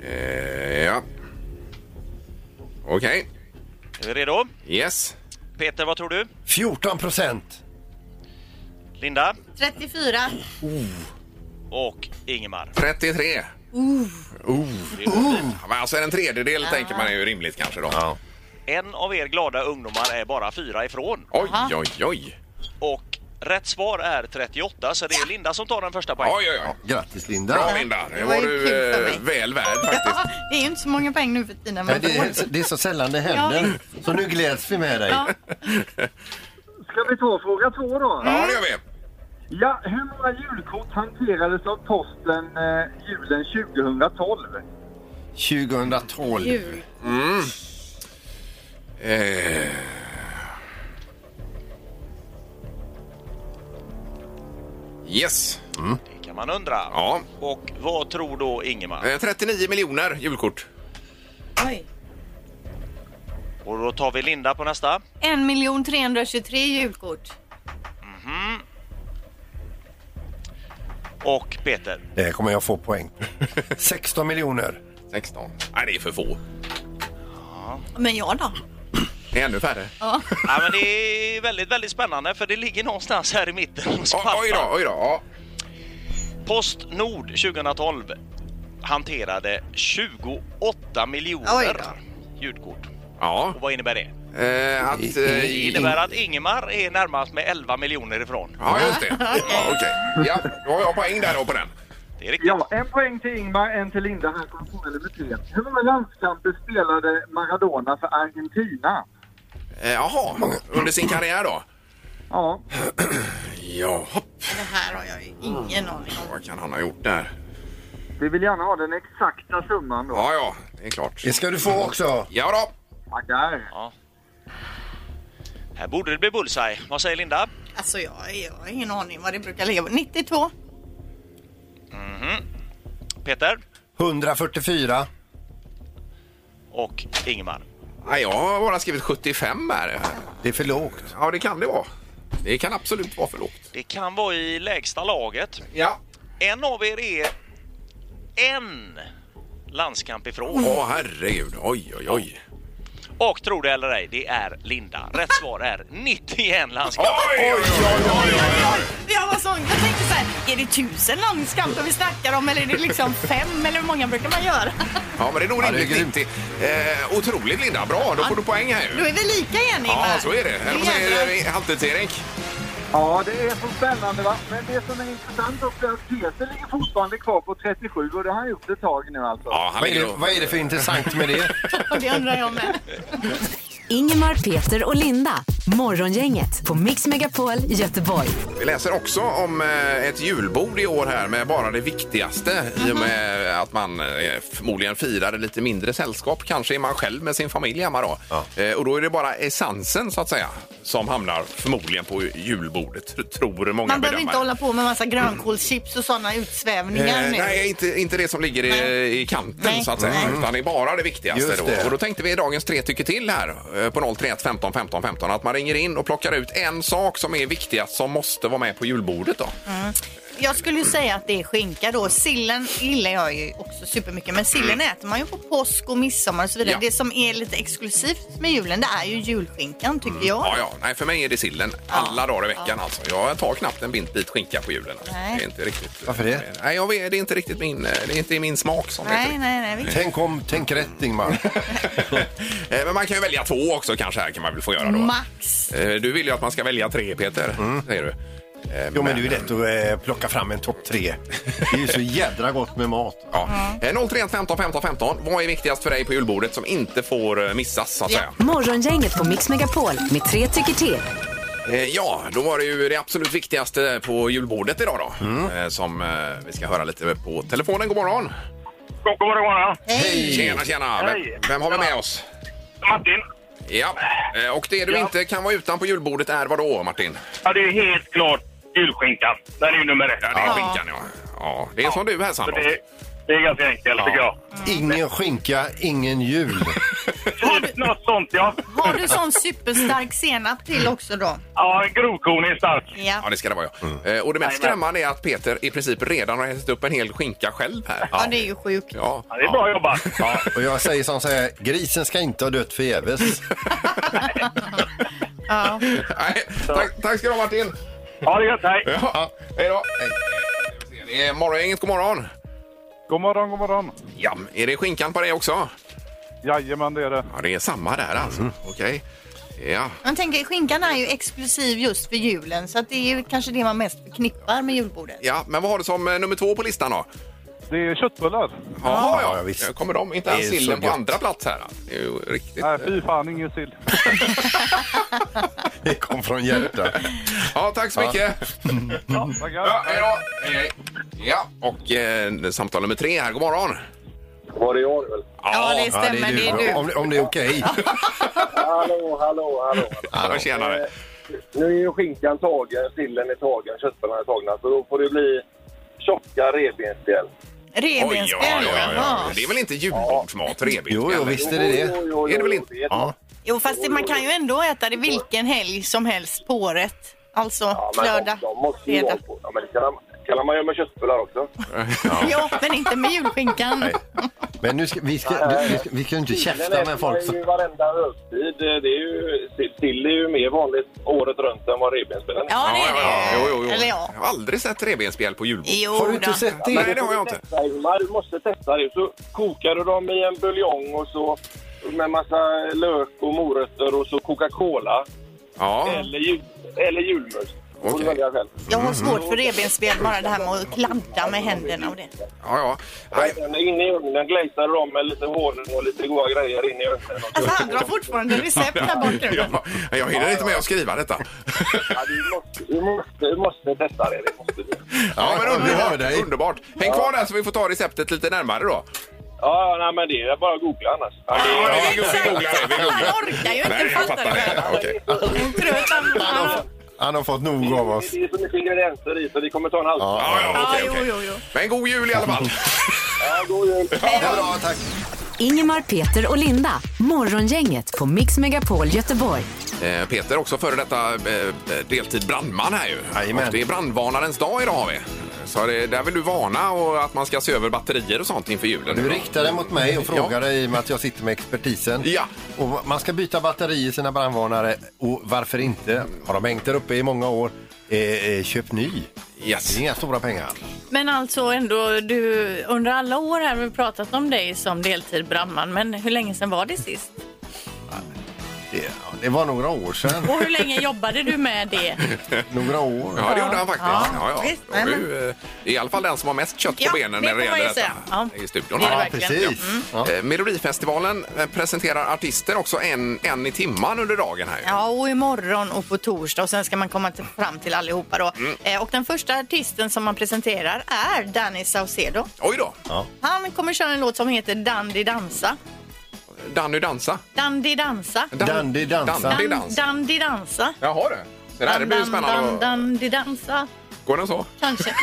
Speaker 2: Eh, ja. Okej.
Speaker 8: Är vi redo?
Speaker 2: Yes.
Speaker 8: Peter, vad tror du?
Speaker 3: 14 procent.
Speaker 8: Linda
Speaker 4: 34.
Speaker 8: och Ingemar.
Speaker 2: 33.
Speaker 8: Det är
Speaker 2: oh. Ja, men alltså en tredjedel tänker man är ju rimligt kanske då.
Speaker 8: En av er glada ungdomar är bara fyra ifrån.
Speaker 2: Oj, oj, oj.
Speaker 8: Och rätt svar är 38, så det är Linda som tar den första
Speaker 2: Oj,
Speaker 8: poängen.
Speaker 2: oj, oj.
Speaker 3: Grattis
Speaker 2: Bra
Speaker 3: Linda.
Speaker 2: Linda, det
Speaker 4: Det
Speaker 2: var
Speaker 4: var ju
Speaker 2: du
Speaker 4: kul för
Speaker 2: eh,
Speaker 4: mig.
Speaker 2: väl värd faktiskt.
Speaker 4: Ja, det är ju inte så många poäng nu för tiden.
Speaker 3: Men
Speaker 4: Men
Speaker 3: det, är, det är så sällan det händer. Så nu gläds vi med dig.
Speaker 7: ska vi ta fråga två då?
Speaker 2: Ja, det gör vi.
Speaker 7: Ja, hur många julkort hanterades av posten eh, julen 2012?
Speaker 3: 2012.
Speaker 4: jul.
Speaker 2: Mm. Eh, Yes. Mm.
Speaker 8: Det kan man undra.
Speaker 2: Ja.
Speaker 8: Och vad tror då Ingemar?
Speaker 2: Eh, 39 miljoner julkort.
Speaker 4: Oj.
Speaker 8: Och då tar vi Linda på nästa.
Speaker 4: 1 323 julkort. Mhm.
Speaker 8: Och Peter.
Speaker 3: Det kommer jag få poäng. 16 miljoner.
Speaker 2: 16. Nej, det är för få.
Speaker 4: Men jag då?
Speaker 2: Det är ännu färre.
Speaker 8: Ja, men det är väldigt, väldigt spännande för det ligger någonstans här i mitten hos
Speaker 2: Oj,
Speaker 8: pappa.
Speaker 2: oj då, oj då. Ja.
Speaker 8: Postnord 2012 hanterade 28
Speaker 4: Oj
Speaker 8: miljoner ljudkort.
Speaker 2: ja.
Speaker 8: Och vad innebär det?
Speaker 2: Eh, att...
Speaker 8: Det
Speaker 2: Eh,
Speaker 8: innebär att Ingemar är närmast med 11 miljoner ifrån.
Speaker 2: ja, just det. Ja, Okej. Ja, då har jag poäng där då på den.
Speaker 8: Det är riktigt.
Speaker 7: Ja, en poäng till Ingmar, en till Linda. Här kommer fråga nummer tre. Hur många landskamper spelade Maradona för Argentina?
Speaker 2: Eh, Jaha, under sin karriär då?
Speaker 7: Ja,
Speaker 2: Ja, hopp,
Speaker 4: Det här har jag ju ingen aning om.
Speaker 2: vad kan han ha gjort där?
Speaker 7: vi vill gärna ha den exakta summan då.
Speaker 2: Ja, ja, det är klart.
Speaker 3: Det ska du få också.
Speaker 2: Ja då.
Speaker 7: Tackar.
Speaker 8: Här borde det bli bullseye. Vad säger Linda?
Speaker 4: Alltså jag, jag har ingen aning vad det brukar ligga på. 92.
Speaker 8: Mhm. Peter
Speaker 3: 144.
Speaker 8: och Ingemar.
Speaker 2: Nej, jag har bara skrivit 75 här.
Speaker 3: Det är för lågt.
Speaker 2: Ja, det kan det vara. Det kan absolut vara för lågt.
Speaker 8: Det kan vara i lägsta laget.
Speaker 2: Ja.
Speaker 8: En av er är en landskamp ifrån.
Speaker 2: Åh, herregud. Oj, oj, oj.
Speaker 8: Och tro det eller ej, det är Linda. Rätt svar är 91 landskamp.
Speaker 2: Oj, oj, oj, oj, oj.
Speaker 4: Jag var sån, jag tänkte så här, är det tusen landskamper vi snackar om eller är det liksom fem eller hur många brukar man göra?
Speaker 2: Ja, men det är nog
Speaker 3: Ja, det är
Speaker 2: rimligt
Speaker 3: grymt.
Speaker 2: 90. Eh, otroligt, Linda. Bra, då får du poäng här
Speaker 4: Då
Speaker 2: ju.
Speaker 4: är vi lika igen Ingmar.
Speaker 2: Ja, så är det. Eller vad säger Halvtids-Erik?
Speaker 7: Ja, det är så spännande va. Men det som är intressant också är att Peter ligger fortfarande kvar på 37 och det har han gjort ett tag nu alltså.
Speaker 2: Ja, han
Speaker 3: Vad är,
Speaker 2: ligger
Speaker 3: det,
Speaker 2: och-
Speaker 3: vad är det för intressant med det?
Speaker 4: Och det undrar jag med.
Speaker 1: Ingemar, Peter och Linda. Morgongänget på Mix Megapol Göteborg.
Speaker 2: Vi läser också om eh, ett julbord i år här med bara det viktigaste i och
Speaker 3: Mm-hmm.
Speaker 2: med att man eh, förmodligen firar lite mindre sällskap. Kanske är man själv med sin familj hemma då. Eh, Och då är det bara essensen så att säga som hamnar förmodligen på julbordet, tr- tror många
Speaker 4: Man behöver
Speaker 2: bedömare.
Speaker 4: inte hålla på med massa grönkålschips och sådana utsvävningar
Speaker 2: Eh,
Speaker 4: nu.
Speaker 2: nej, inte, inte det som ligger i, i kanten
Speaker 4: Nej.
Speaker 2: så att säga. Utan det är bara det viktigaste
Speaker 3: Just det.
Speaker 2: då. Och då tänkte vi i dagens tre tycker till här eh, på 031 15 15 15 att man ringer in och plockar ut en sak som är viktigast som måste vara med på julbordet då.
Speaker 4: Mm. Jag skulle ju säga att det är skinka då. Sillen gillar jag ju också supermycket. Men sillen äter man ju på påsk och midsommar och så vidare.
Speaker 2: Mm. Ja.
Speaker 4: Det som är lite exklusivt med julen det är ju julskinkan tycker jag.
Speaker 2: Mm. Ja, ja. Nej, för mig är det sillen alla dagar i veckan alltså. Jag tar knappt en bit, bit skinka på julen. Alltså.
Speaker 4: Nej.
Speaker 2: Det är inte riktigt...
Speaker 3: Varför det?
Speaker 2: Nej, jag vet, det är inte riktigt min, eh, det är inte min smak som det heter.
Speaker 4: Nej, nej, nej. visst.
Speaker 3: Tänk om, tänk rätt Ingmar.
Speaker 2: Eh, Men man kan ju välja två också kanske här kan man väl få göra då.
Speaker 4: Max.
Speaker 2: Eh, Du vill ju att man ska välja tre Peter, säger du. Eh,
Speaker 3: Mm. Jo men det är ju lätt att eh, plocka fram en topp tre. Det är ju så jädra gott med mat.
Speaker 2: Ja. Eh, 031 15 15 15. Vad är viktigast för dig på julbordet som inte får eh, missas så att
Speaker 4: Ja.
Speaker 2: säga?
Speaker 1: Morgongänget på Mix Megapol med tre tycker till.
Speaker 2: Eh, Ja, då var det ju det absolut viktigaste på julbordet idag då. Eh, Som eh, vi ska höra lite på telefonen. God morgon!
Speaker 6: God morgon, god morgon.
Speaker 2: Hej! Tjena, tjena! Vem,
Speaker 6: Hej.
Speaker 2: vem har vi med oss?
Speaker 6: Martin.
Speaker 2: Ja, Eh, och det du
Speaker 6: Ja.
Speaker 2: inte kan vara utan på julbordet är vad då, Martin?
Speaker 6: Ja, det är helt klart julskinkan. Den är ju nummer ett.
Speaker 2: Ja, det är skinkan ja. ja. Det är som du här
Speaker 6: Så
Speaker 2: Sandra.
Speaker 6: det, det är ganska enkelt tycker jag.
Speaker 3: Ingen skinka, ingen jul.
Speaker 6: Typ något sånt ja.
Speaker 4: Har du sån superstark senap till
Speaker 3: Mm.
Speaker 4: också då?
Speaker 6: Ja, en grovkorn är stark.
Speaker 2: Ja,
Speaker 4: Ja.
Speaker 2: det ska det vara ja. Eh, Och det mest
Speaker 6: Jajamän.
Speaker 2: skrämmande är att Peter i princip redan har ätit upp en hel skinka själv här.
Speaker 4: Ja, det är ju sjukt.
Speaker 2: Ja,
Speaker 6: Ja, det är bra jobbat.
Speaker 2: Ja.
Speaker 3: Och jag säger som så här, grisen ska inte ha dött förgäves.
Speaker 4: Ja.
Speaker 2: Nej, tack, tack ska du ha Martin.
Speaker 6: Ha det gött, hej.
Speaker 2: Ja, hej då. Vi ser, Det är morgongänget, god morgon.
Speaker 6: God morgon, god morgon.
Speaker 2: Ja, är det skinkan på dig också?
Speaker 6: Jajamän, det Mm. är det.
Speaker 2: Ja, det är samma där alltså. Okej. Ja.
Speaker 4: Man tänker skinkan är ju exklusiv just för julen så att det är ju kanske det man mest förknippar med julbordet.
Speaker 2: ja, men vad har du som eh, nummer två på listan då?
Speaker 6: Det är köttbullar. Ah,
Speaker 2: Jaha,
Speaker 3: ja, visst.
Speaker 2: Där kommer de. Inte
Speaker 3: Det
Speaker 2: ens
Speaker 3: är så
Speaker 2: sillen på
Speaker 3: gött.
Speaker 2: andra plats här. alltså. Det är ju riktigt.
Speaker 6: Nej, fy fan, ingen sill.
Speaker 3: Det kom från hjärtat.
Speaker 2: Ja, tack så mycket.
Speaker 6: Ja,
Speaker 2: Mm. Ja, hej då. Hej, hej. Ja, och eh, samtal nummer tre här. God morgon.
Speaker 6: Var det jag väl?
Speaker 4: Ja, det stämmer. det är du.
Speaker 3: Om, om det är okej.
Speaker 6: Hallå, hallå, hallå. Eh,
Speaker 2: Ja, tjenare.
Speaker 6: Nu är ju skinkan tagen, sillen är tagen, köttbullarna är tagna. Så då får det bli tjocka revbensspjäll.
Speaker 4: Revbensspjäll, jaha.
Speaker 2: Det är väl inte julbordsmat, revbensspjäll?
Speaker 3: Jo, jo, visst är det det.
Speaker 2: Är det väl inte?
Speaker 3: Ja.
Speaker 4: Jo, fast det, man kan ju ändå äta det vilken helg som helst på året. Alltså lördag, fredag.
Speaker 6: Ja, men det kan, kan man göra med köttbullar också.
Speaker 4: Ja, men inte med julskinkan.
Speaker 3: Nej. Men nu ska, vi, ska, du, vi, ska, vi kan ju inte käfta med folk.
Speaker 6: Det är
Speaker 3: som-
Speaker 6: ju varenda högtid. Det är ju, sill är ju mer vanligt året runt än vad revbensspjällen är.
Speaker 4: Ja, det är
Speaker 2: Ja, ja,
Speaker 4: det.
Speaker 2: ja. Jo, jo, jo.
Speaker 4: Eller ja.
Speaker 2: Jag har aldrig sett revbensspjäll på julbord.
Speaker 4: Jo,
Speaker 3: Har du inte
Speaker 4: då.
Speaker 3: sett
Speaker 2: Nej,
Speaker 3: det?
Speaker 2: det har jag inte.
Speaker 6: Testa, Ingmar, du måste testa det. Så kokar du dem i en buljong och så med massa lök och morötter och så Coca-Cola
Speaker 2: Ja,
Speaker 6: eller, jul, eller julmust. Får du
Speaker 2: Okej.
Speaker 6: välja själv.
Speaker 4: Jag har svårt för revbensspjäll, bara det här med att kladda med händerna och det.
Speaker 2: ja, ja. Nej,
Speaker 6: Den är Inne i ugnen glazar du dem med lite honung och lite goda grejer in i ugnen.
Speaker 4: Alltså han drar fortfarande recept där borta. nu.
Speaker 2: ja, jag hinner inte med att skriva detta.
Speaker 6: Ja, du, måste, du, måste, du måste testa det. det måste du.
Speaker 2: Ja, men
Speaker 3: Ja, vi hör
Speaker 2: underbart.
Speaker 3: dig.
Speaker 2: underbart. Häng kvar där så vi får ta receptet lite närmare då.
Speaker 6: Ja, nej, men det är bara att googla annars. Ja, det är,
Speaker 2: Ja,
Speaker 4: Exakt. Han orkar ju inte fatta det själv.
Speaker 2: Ja, okej.
Speaker 4: Han är trött, han- han-
Speaker 3: Han har fått nog av
Speaker 6: det,
Speaker 3: oss.
Speaker 6: är, så mycket ingredienser i så det kommer ta en halvtimme.
Speaker 2: Ja, ja,
Speaker 4: Ja,
Speaker 2: okej,
Speaker 4: jo,
Speaker 2: okej.
Speaker 4: jo, jo.
Speaker 2: Men god jul i alla fall.
Speaker 6: Ja, god jul!
Speaker 3: Bra, tack.
Speaker 1: Ingemar, Peter och Linda. Morgongänget på Mix Megapol Göteborg.
Speaker 2: Eh, Peter också före detta eh, deltid brandman här ju.
Speaker 3: Jajamän.
Speaker 2: Och det är brandvarnarens dag idag har vi. Så det, där vill du varna och att man ska se över batterier och sånt inför julen.
Speaker 3: Du riktar dig mot mig och frågar dig i och med att jag sitter med expertisen.
Speaker 2: Ja.
Speaker 3: Och man ska byta batteri i sina brandvarnare och varför inte? Har de hängt där uppe i många år, eh, eh, köp ny.
Speaker 2: Yes.
Speaker 3: Det är inga stora pengar.
Speaker 9: Men alltså ändå, du, under alla år här har vi pratat om dig som deltid brandman, men hur länge sedan var det sist?
Speaker 3: Det, ja, det var några år sedan.
Speaker 9: Och hur länge jobbade du med det?
Speaker 3: Några år.
Speaker 2: Ja, det gjorde han faktiskt. Ja, ja.
Speaker 4: visst.
Speaker 2: Det var ju, eh, I alla fall den som har mest kött på
Speaker 4: Ja,
Speaker 2: benen
Speaker 9: det
Speaker 2: när
Speaker 9: får
Speaker 2: det
Speaker 9: man ju
Speaker 2: gäller detta
Speaker 9: säga. Ja.
Speaker 2: i studion.
Speaker 9: Det är det
Speaker 3: Ja,
Speaker 9: verkligen. Mm.
Speaker 3: precis. Ja.
Speaker 2: Eh, Melodifestivalen eh, presenterar artister också en, en i timman under dagen. här.
Speaker 4: Ja, och imorgon och på torsdag och sen ska man komma till, fram till allihopa då.
Speaker 2: Mm.
Speaker 4: Eh, och den första artisten som man presenterar är Danny Saucedo.
Speaker 2: Oj då!
Speaker 4: Han kommer köra en låt som heter Dandy Dansa.
Speaker 2: Danny dansa.
Speaker 9: Dandy dansa.
Speaker 2: Dandy dansa. Dandy
Speaker 9: Dan-
Speaker 2: dansa.
Speaker 9: Dandy dansa.
Speaker 2: Jaha du. Det här blir ju spännande.
Speaker 9: Dan,
Speaker 2: att-
Speaker 9: dandy dansa.
Speaker 2: Går den så?
Speaker 9: Kanske.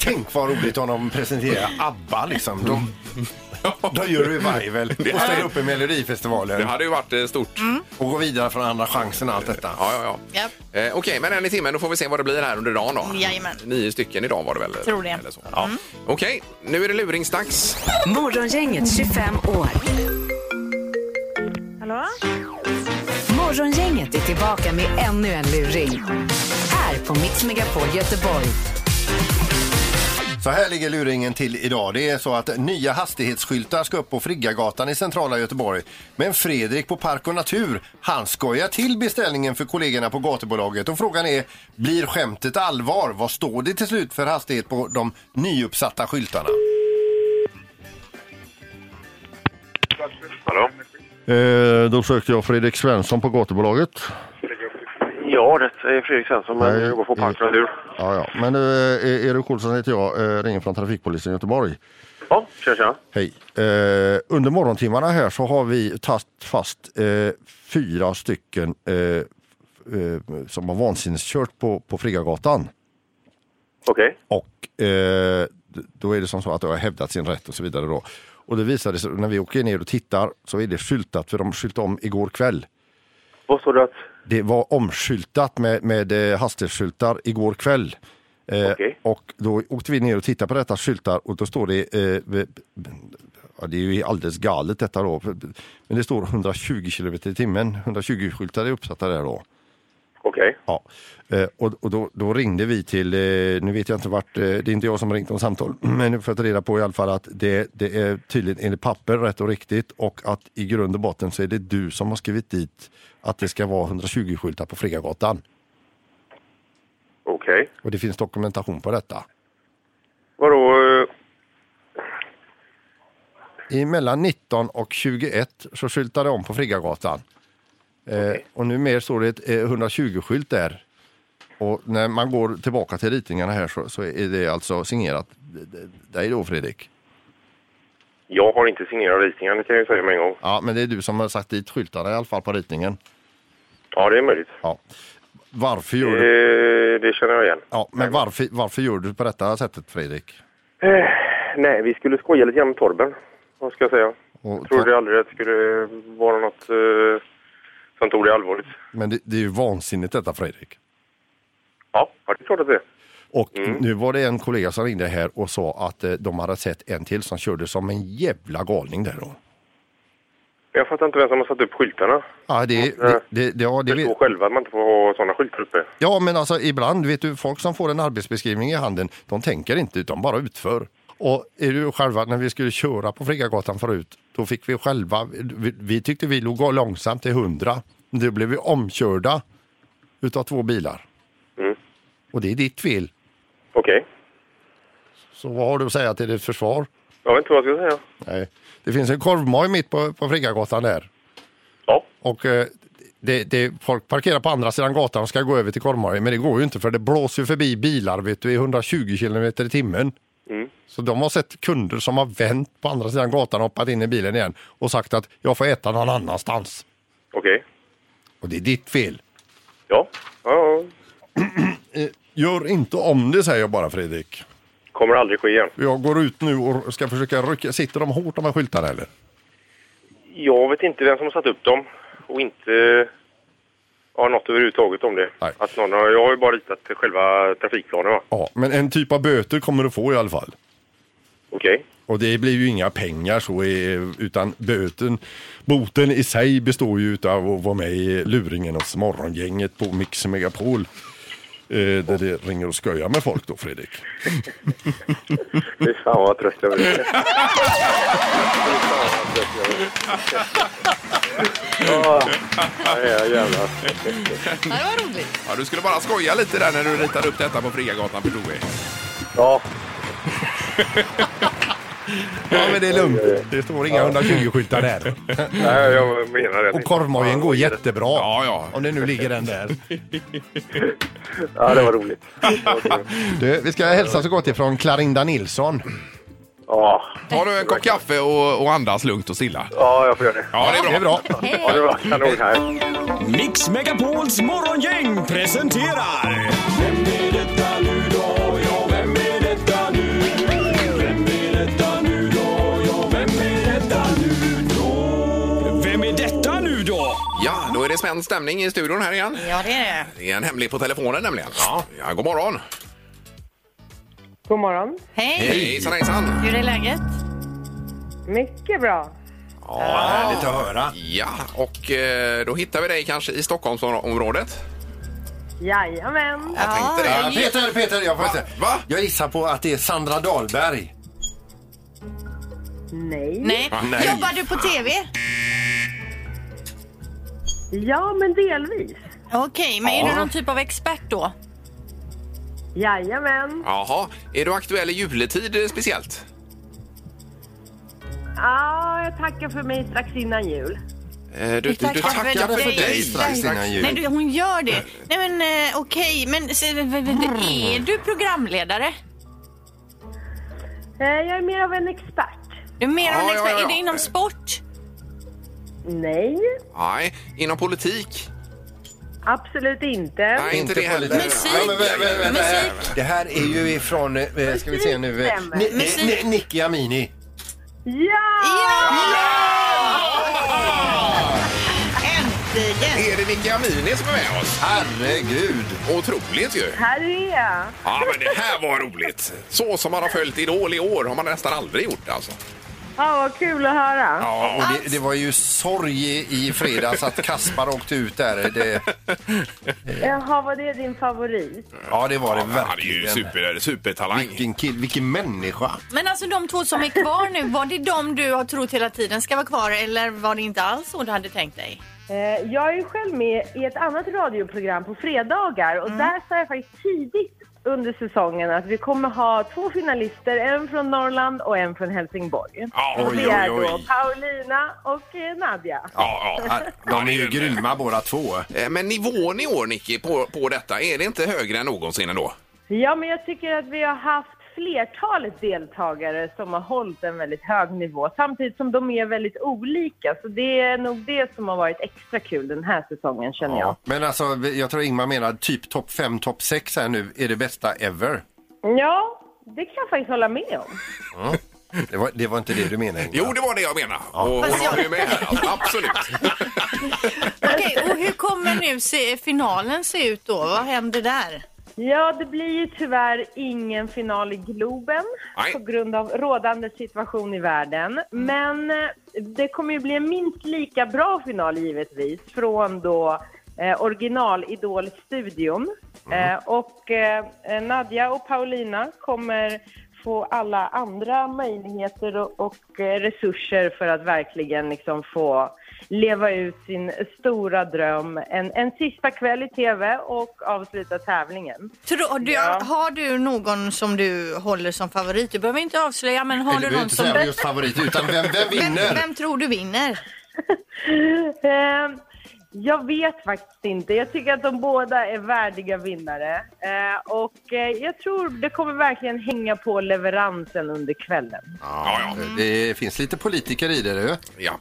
Speaker 3: Tänk vad roligt om de presenterar ABBA liksom. De, de gör revival och ställer upp i Melodifestivalen.
Speaker 2: Det hade ju varit eh, stort.
Speaker 3: Och gå vidare från Andra chansen och allt detta.
Speaker 2: Ja, ja, ja.
Speaker 9: Ja,
Speaker 2: Eh, Okej, men en i timmen. Då får vi se vad det blir här under dagen då.
Speaker 9: Jajamän.
Speaker 2: Nio stycken idag var det väl?
Speaker 9: Tror det.
Speaker 2: Eller så.
Speaker 3: Mm.
Speaker 2: Ja. Okej, nu är det luringsdags.
Speaker 1: Morgongänget 25 år.
Speaker 10: Hallå?
Speaker 1: Morgongänget är tillbaka med ännu en luring. Här på Mix Megapol Göteborg.
Speaker 3: Så här ligger luringen till idag. Det är så att nya hastighetsskyltar ska upp på Friggagatan i centrala Göteborg. Men Fredrik på Park och Natur, han skojar till beställningen för kollegorna på gatubolaget. Och frågan är, blir skämtet allvar? Vad står det till slut för hastighet på de nyuppsatta skyltarna?
Speaker 11: Hallå?
Speaker 3: Eh, då sökte jag Fredrik Svensson på gatubolaget.
Speaker 11: Ja, det är Fredrik Svensson, men jag jobbar på Park Natur.
Speaker 3: Ja, ja. Men eh, Erik Olsson heter jag, eh, ringer från trafikpolisen i Göteborg.
Speaker 11: Ja, tja tja.
Speaker 3: Hej. Eh, under morgontimmarna här så har vi tagit fast eh, fyra stycken eh, f- eh, som har vansinneskört på, på Friggagatan.
Speaker 11: Okej.
Speaker 3: Och eh, d- då är det som så att de har hävdat sin rätt och så vidare då. Och det visade sig, när vi åker ner och tittar så är det skyltat, för de skyltade om igår kväll.
Speaker 11: Vad sa du att?
Speaker 3: Det var omskyltat med, med eh, hastighetsskyltar igår kväll. Eh, Och då åkte vi ner och tittade på detta skyltar och då står det, eh, b- b- ja, det är ju alldeles galet detta då, men det står 120 km i timmen, 120 skyltar är uppsatta där då.
Speaker 11: Okej.
Speaker 3: Ja. Eh, och och då, då ringde vi till, eh, nu vet jag inte vart, eh, det är inte jag som har ringt om samtal, men nu får jag ta reda på i alla fall att det, det är tydligen enligt papper rätt och riktigt och att i grund och botten så är det du som har skrivit dit att det ska vara 120 skyltar på Friggagatan.
Speaker 11: Okej.
Speaker 3: Och det finns dokumentation på detta.
Speaker 11: Vadå? eh,
Speaker 3: I mellan 19 och 21 så skyltade de om på Friggagatan. Eh, och numera står det ett eh, 120-skylt där. Och när man går tillbaka till ritningarna här så, så är det alltså signerat d- d- dig då Fredrik.
Speaker 11: Jag har inte signerat ritningarna, det kan jag ju säga med en gång.
Speaker 3: Ja, men det är du som har satt dit skyltarna i alla fall på ritningen.
Speaker 11: Ja, det är möjligt.
Speaker 3: Ja. Varför gör
Speaker 11: Eh.
Speaker 3: du?
Speaker 11: Det, det känner jag igen.
Speaker 3: Ja, men varför, varför gör du på detta sättet Fredrik?
Speaker 11: Eh, nej, vi skulle skoja lite grann med Torben. Vad ska jag säga?
Speaker 3: Och,
Speaker 11: Trodde aldrig att det skulle vara något eh, som tog det allvarligt.
Speaker 3: men det, det är ju vansinnigt detta Fredrik.
Speaker 11: Ja, ja, det är klart att det är.
Speaker 3: Och nu var det en kollega som ringde här och sa att eh, de hade sett en till som körde som en jävla galning där då.
Speaker 11: Men Jag fattar inte vem som har satt upp skyltarna.
Speaker 3: Ja, det,
Speaker 11: eh.
Speaker 3: det, det, det, ja, det,
Speaker 11: Det
Speaker 3: vet-
Speaker 11: står själva att man inte får ha sådana skyltar uppe.
Speaker 3: ja, men alltså ibland vet du, folk som får en arbetsbeskrivning i handen, de tänker inte utan bara utför. Och är du själva, när vi skulle köra på Friggagatan förut, då fick vi själva, vi, vi tyckte vi låg långsamt till 100. Då blev vi omkörda utav två bilar.
Speaker 11: Mm.
Speaker 3: Och det är ditt fel.
Speaker 11: Okej.
Speaker 3: Så vad har du att säga till ditt försvar?
Speaker 11: Jag vet inte vad jag ska säga.
Speaker 3: Nej. Det finns en korvmoj mitt på, på Friggagatan där.
Speaker 11: Ja.
Speaker 3: Och eh, det, det, folk parkerar på andra sidan gatan och ska gå över till korvmojen, men det går ju inte för det blåser ju förbi bilar vet du, i 120 kilometer i timmen.
Speaker 11: Mm.
Speaker 3: Så de har sett kunder som har vänt på andra sidan gatan och hoppat in i bilen igen och sagt att jag får äta någon annanstans.
Speaker 11: Okej.
Speaker 3: Och det är ditt fel.
Speaker 11: Ja. ja. ja.
Speaker 3: Eh, Gör inte om det säger jag bara Fredrik.
Speaker 11: Kommer aldrig ske igen.
Speaker 3: Jag går ut nu och ska försöka rycka. Sitter de hårt de här skyltarna eller?
Speaker 11: Jag vet inte vem som har satt upp dem och inte har något överhuvudtaget om det. Att någon har, jag har ju bara ritat själva trafikplanen. va?
Speaker 3: Ja, men en typ av böter kommer du få i alla fall.
Speaker 11: Okej.
Speaker 3: Och det blir ju inga pengar så, eh, utan böten, boten i sig består ju utav att vara med i luringen hos morgongänget på Mix Megapol. Eh, där det ringer och skojar med folk då Fredrik.
Speaker 11: Fy fan vad trött jag blir. Ja, ja, jävlar.
Speaker 9: det var roligt.
Speaker 2: Ja, du skulle bara skoja lite där när du ritade upp detta på Friggagatan förstod vi.
Speaker 11: Ja.
Speaker 3: Ja men det är lugnt. Det står inga 120-skyltar där.
Speaker 11: Nej, jag menar det.
Speaker 3: Och korvmojen går jättebra.
Speaker 2: Ja, ja.
Speaker 3: Om det nu ligger den där.
Speaker 11: Ja, det var roligt.
Speaker 3: Du, vi ska hälsa så gott ifrån Clarinda Nilsson.
Speaker 11: Ja.
Speaker 2: Har du en kopp kaffe och, och andas lugnt och stilla?
Speaker 11: Ja, jag får göra det.
Speaker 2: Ja, det är bra.
Speaker 11: Ja, det var kanon här.
Speaker 10: Mix Megapols morgongäng presenterar... Vem är detta nu då? Ja, vem är detta nu? Vem är detta nu då? Ja, vem är detta nu då? Vem är detta nu då?
Speaker 2: Ja, då är det spänd stämning i studion här igen.
Speaker 4: Ja, det är det.
Speaker 2: Det är en hemlig på telefonen nämligen. Ja, ja god morgon.
Speaker 12: God morgon.
Speaker 4: Hej!
Speaker 2: Hejsan, hejsan.
Speaker 4: Hur är läget?
Speaker 12: Mycket bra.
Speaker 2: Ja, härligt att höra. Ja, och eh, då hittar vi dig kanske i Stockholmsområdet.
Speaker 12: Jajamän.
Speaker 2: tänkte det.
Speaker 3: Ja, Peter, Peter, jag får inte. Jag gissar på att det är Sandra Dahlberg.
Speaker 12: Nej.
Speaker 4: Nej.
Speaker 3: Ah, nej.
Speaker 4: Jobbar du på TV?
Speaker 12: Ja, men delvis.
Speaker 4: Okej, men
Speaker 2: Ja.
Speaker 4: är du någon typ av expert då?
Speaker 12: Jajamän.
Speaker 2: Jaha, är du aktuell i juletid eh, speciellt?
Speaker 12: Ja, jag tackar för mig strax innan jul.
Speaker 2: Eh, Du, du,
Speaker 4: tackar för dig strax
Speaker 2: innan
Speaker 4: Nej, du, hon gör det. Nej, men eh, okej, men så- är du programledare?
Speaker 12: Eh, Jag är mer av en expert.
Speaker 4: Du är mer av en
Speaker 2: Ja, ja,
Speaker 4: expert?
Speaker 2: ja, ja.
Speaker 4: Är det inom sport?
Speaker 12: Nej,
Speaker 2: Nej, inom politik?
Speaker 12: absolut inte.
Speaker 2: Nej, inte det heller.
Speaker 3: Ja, men vä- vä- vä- vä- Det här är ju ifrån, eh, ska vi se nu, eh,
Speaker 12: Stämmer.
Speaker 3: Ni- eh,
Speaker 12: Musik.
Speaker 3: Ni- Nicky Amini.
Speaker 12: Ja!
Speaker 4: Äntligen!
Speaker 2: Är det Nicky Amini som är med oss?
Speaker 3: Herregud!
Speaker 2: Otroligt ju!
Speaker 12: Här är jag.
Speaker 2: Ja, men det här var roligt! Så som man har följt Idol i år har man nästan aldrig gjort alltså.
Speaker 12: Ja, vad kul att höra.
Speaker 3: Ja, och det, det var ju sorg i- i fredags att Kaspar åkte ut där. Det,
Speaker 12: Jaha, var det din favorit?
Speaker 3: ja, det var det
Speaker 2: Han är ju
Speaker 3: verkligen.
Speaker 2: super, supertalang.
Speaker 3: Vilken kill, vilken människa.
Speaker 4: Men alltså de två som är kvar nu, var det de du har trott hela tiden ska vara kvar eller var det inte alls så du hade tänkt dig?
Speaker 12: Eh, Jag är ju själv med i ett annat radioprogram på fredagar och där sa jag faktiskt tidigt under säsongen att vi kommer ha två finalister, en från Norrland och en från Helsingborg.
Speaker 3: Oj,
Speaker 12: och det är
Speaker 3: oj, oj.
Speaker 12: då Paulina och eh, Nadja.
Speaker 2: Ja, ja.
Speaker 3: De är ju grymma båda två.
Speaker 2: Eh, Men nivån i år, Nicky, på, på detta, är det inte högre än någonsin ändå?
Speaker 12: Ja, men jag tycker att vi har haft flertalet deltagare som har hållit en väldigt hög nivå samtidigt som de är väldigt olika. Så det är nog det som har varit extra kul den här säsongen känner jag.
Speaker 3: Ja. Men alltså, jag tror Ingmar menar typ topp 5, topp 6 här nu är det bästa ever.
Speaker 12: Ja, det kan jag faktiskt hålla med om.
Speaker 3: Det, var, det var inte det du menade Ingmar.
Speaker 2: Jo, det var det jag menade. Och
Speaker 4: Fast
Speaker 2: hon
Speaker 4: jag-
Speaker 2: var ju med här, alltså. absolut.
Speaker 4: Okej, och hur kommer nu se, finalen se ut då? Vad händer där?
Speaker 12: Ja, det blir ju tyvärr ingen final i Globen
Speaker 2: Nej.
Speaker 12: på grund av rådande situation i världen. Men eh, det kommer ju bli en minst lika bra final givetvis från då eh, original Idol-studion. Eh, och eh, Nadja och Paulina kommer få alla andra möjligheter och, och eh, resurser för att verkligen liksom få leva ut sin stora dröm en, en sista kväll i tv och avsluta tävlingen.
Speaker 4: Tror du, Har du någon som du håller som favorit? Du behöver inte avslöja, men har du
Speaker 3: Eller behöver
Speaker 4: någon
Speaker 3: inte
Speaker 4: som...
Speaker 3: säga just favorit, utan vem, vem vinner?
Speaker 4: Vem, vem tror du vinner?
Speaker 12: Eh, jag vet faktiskt inte. Jag tycker att de båda är värdiga vinnare. Eh, och eh, jag tror det kommer verkligen hänga på leveransen under kvällen.
Speaker 2: Ja, ja.
Speaker 3: Det finns lite politiker i det du.
Speaker 2: Ja.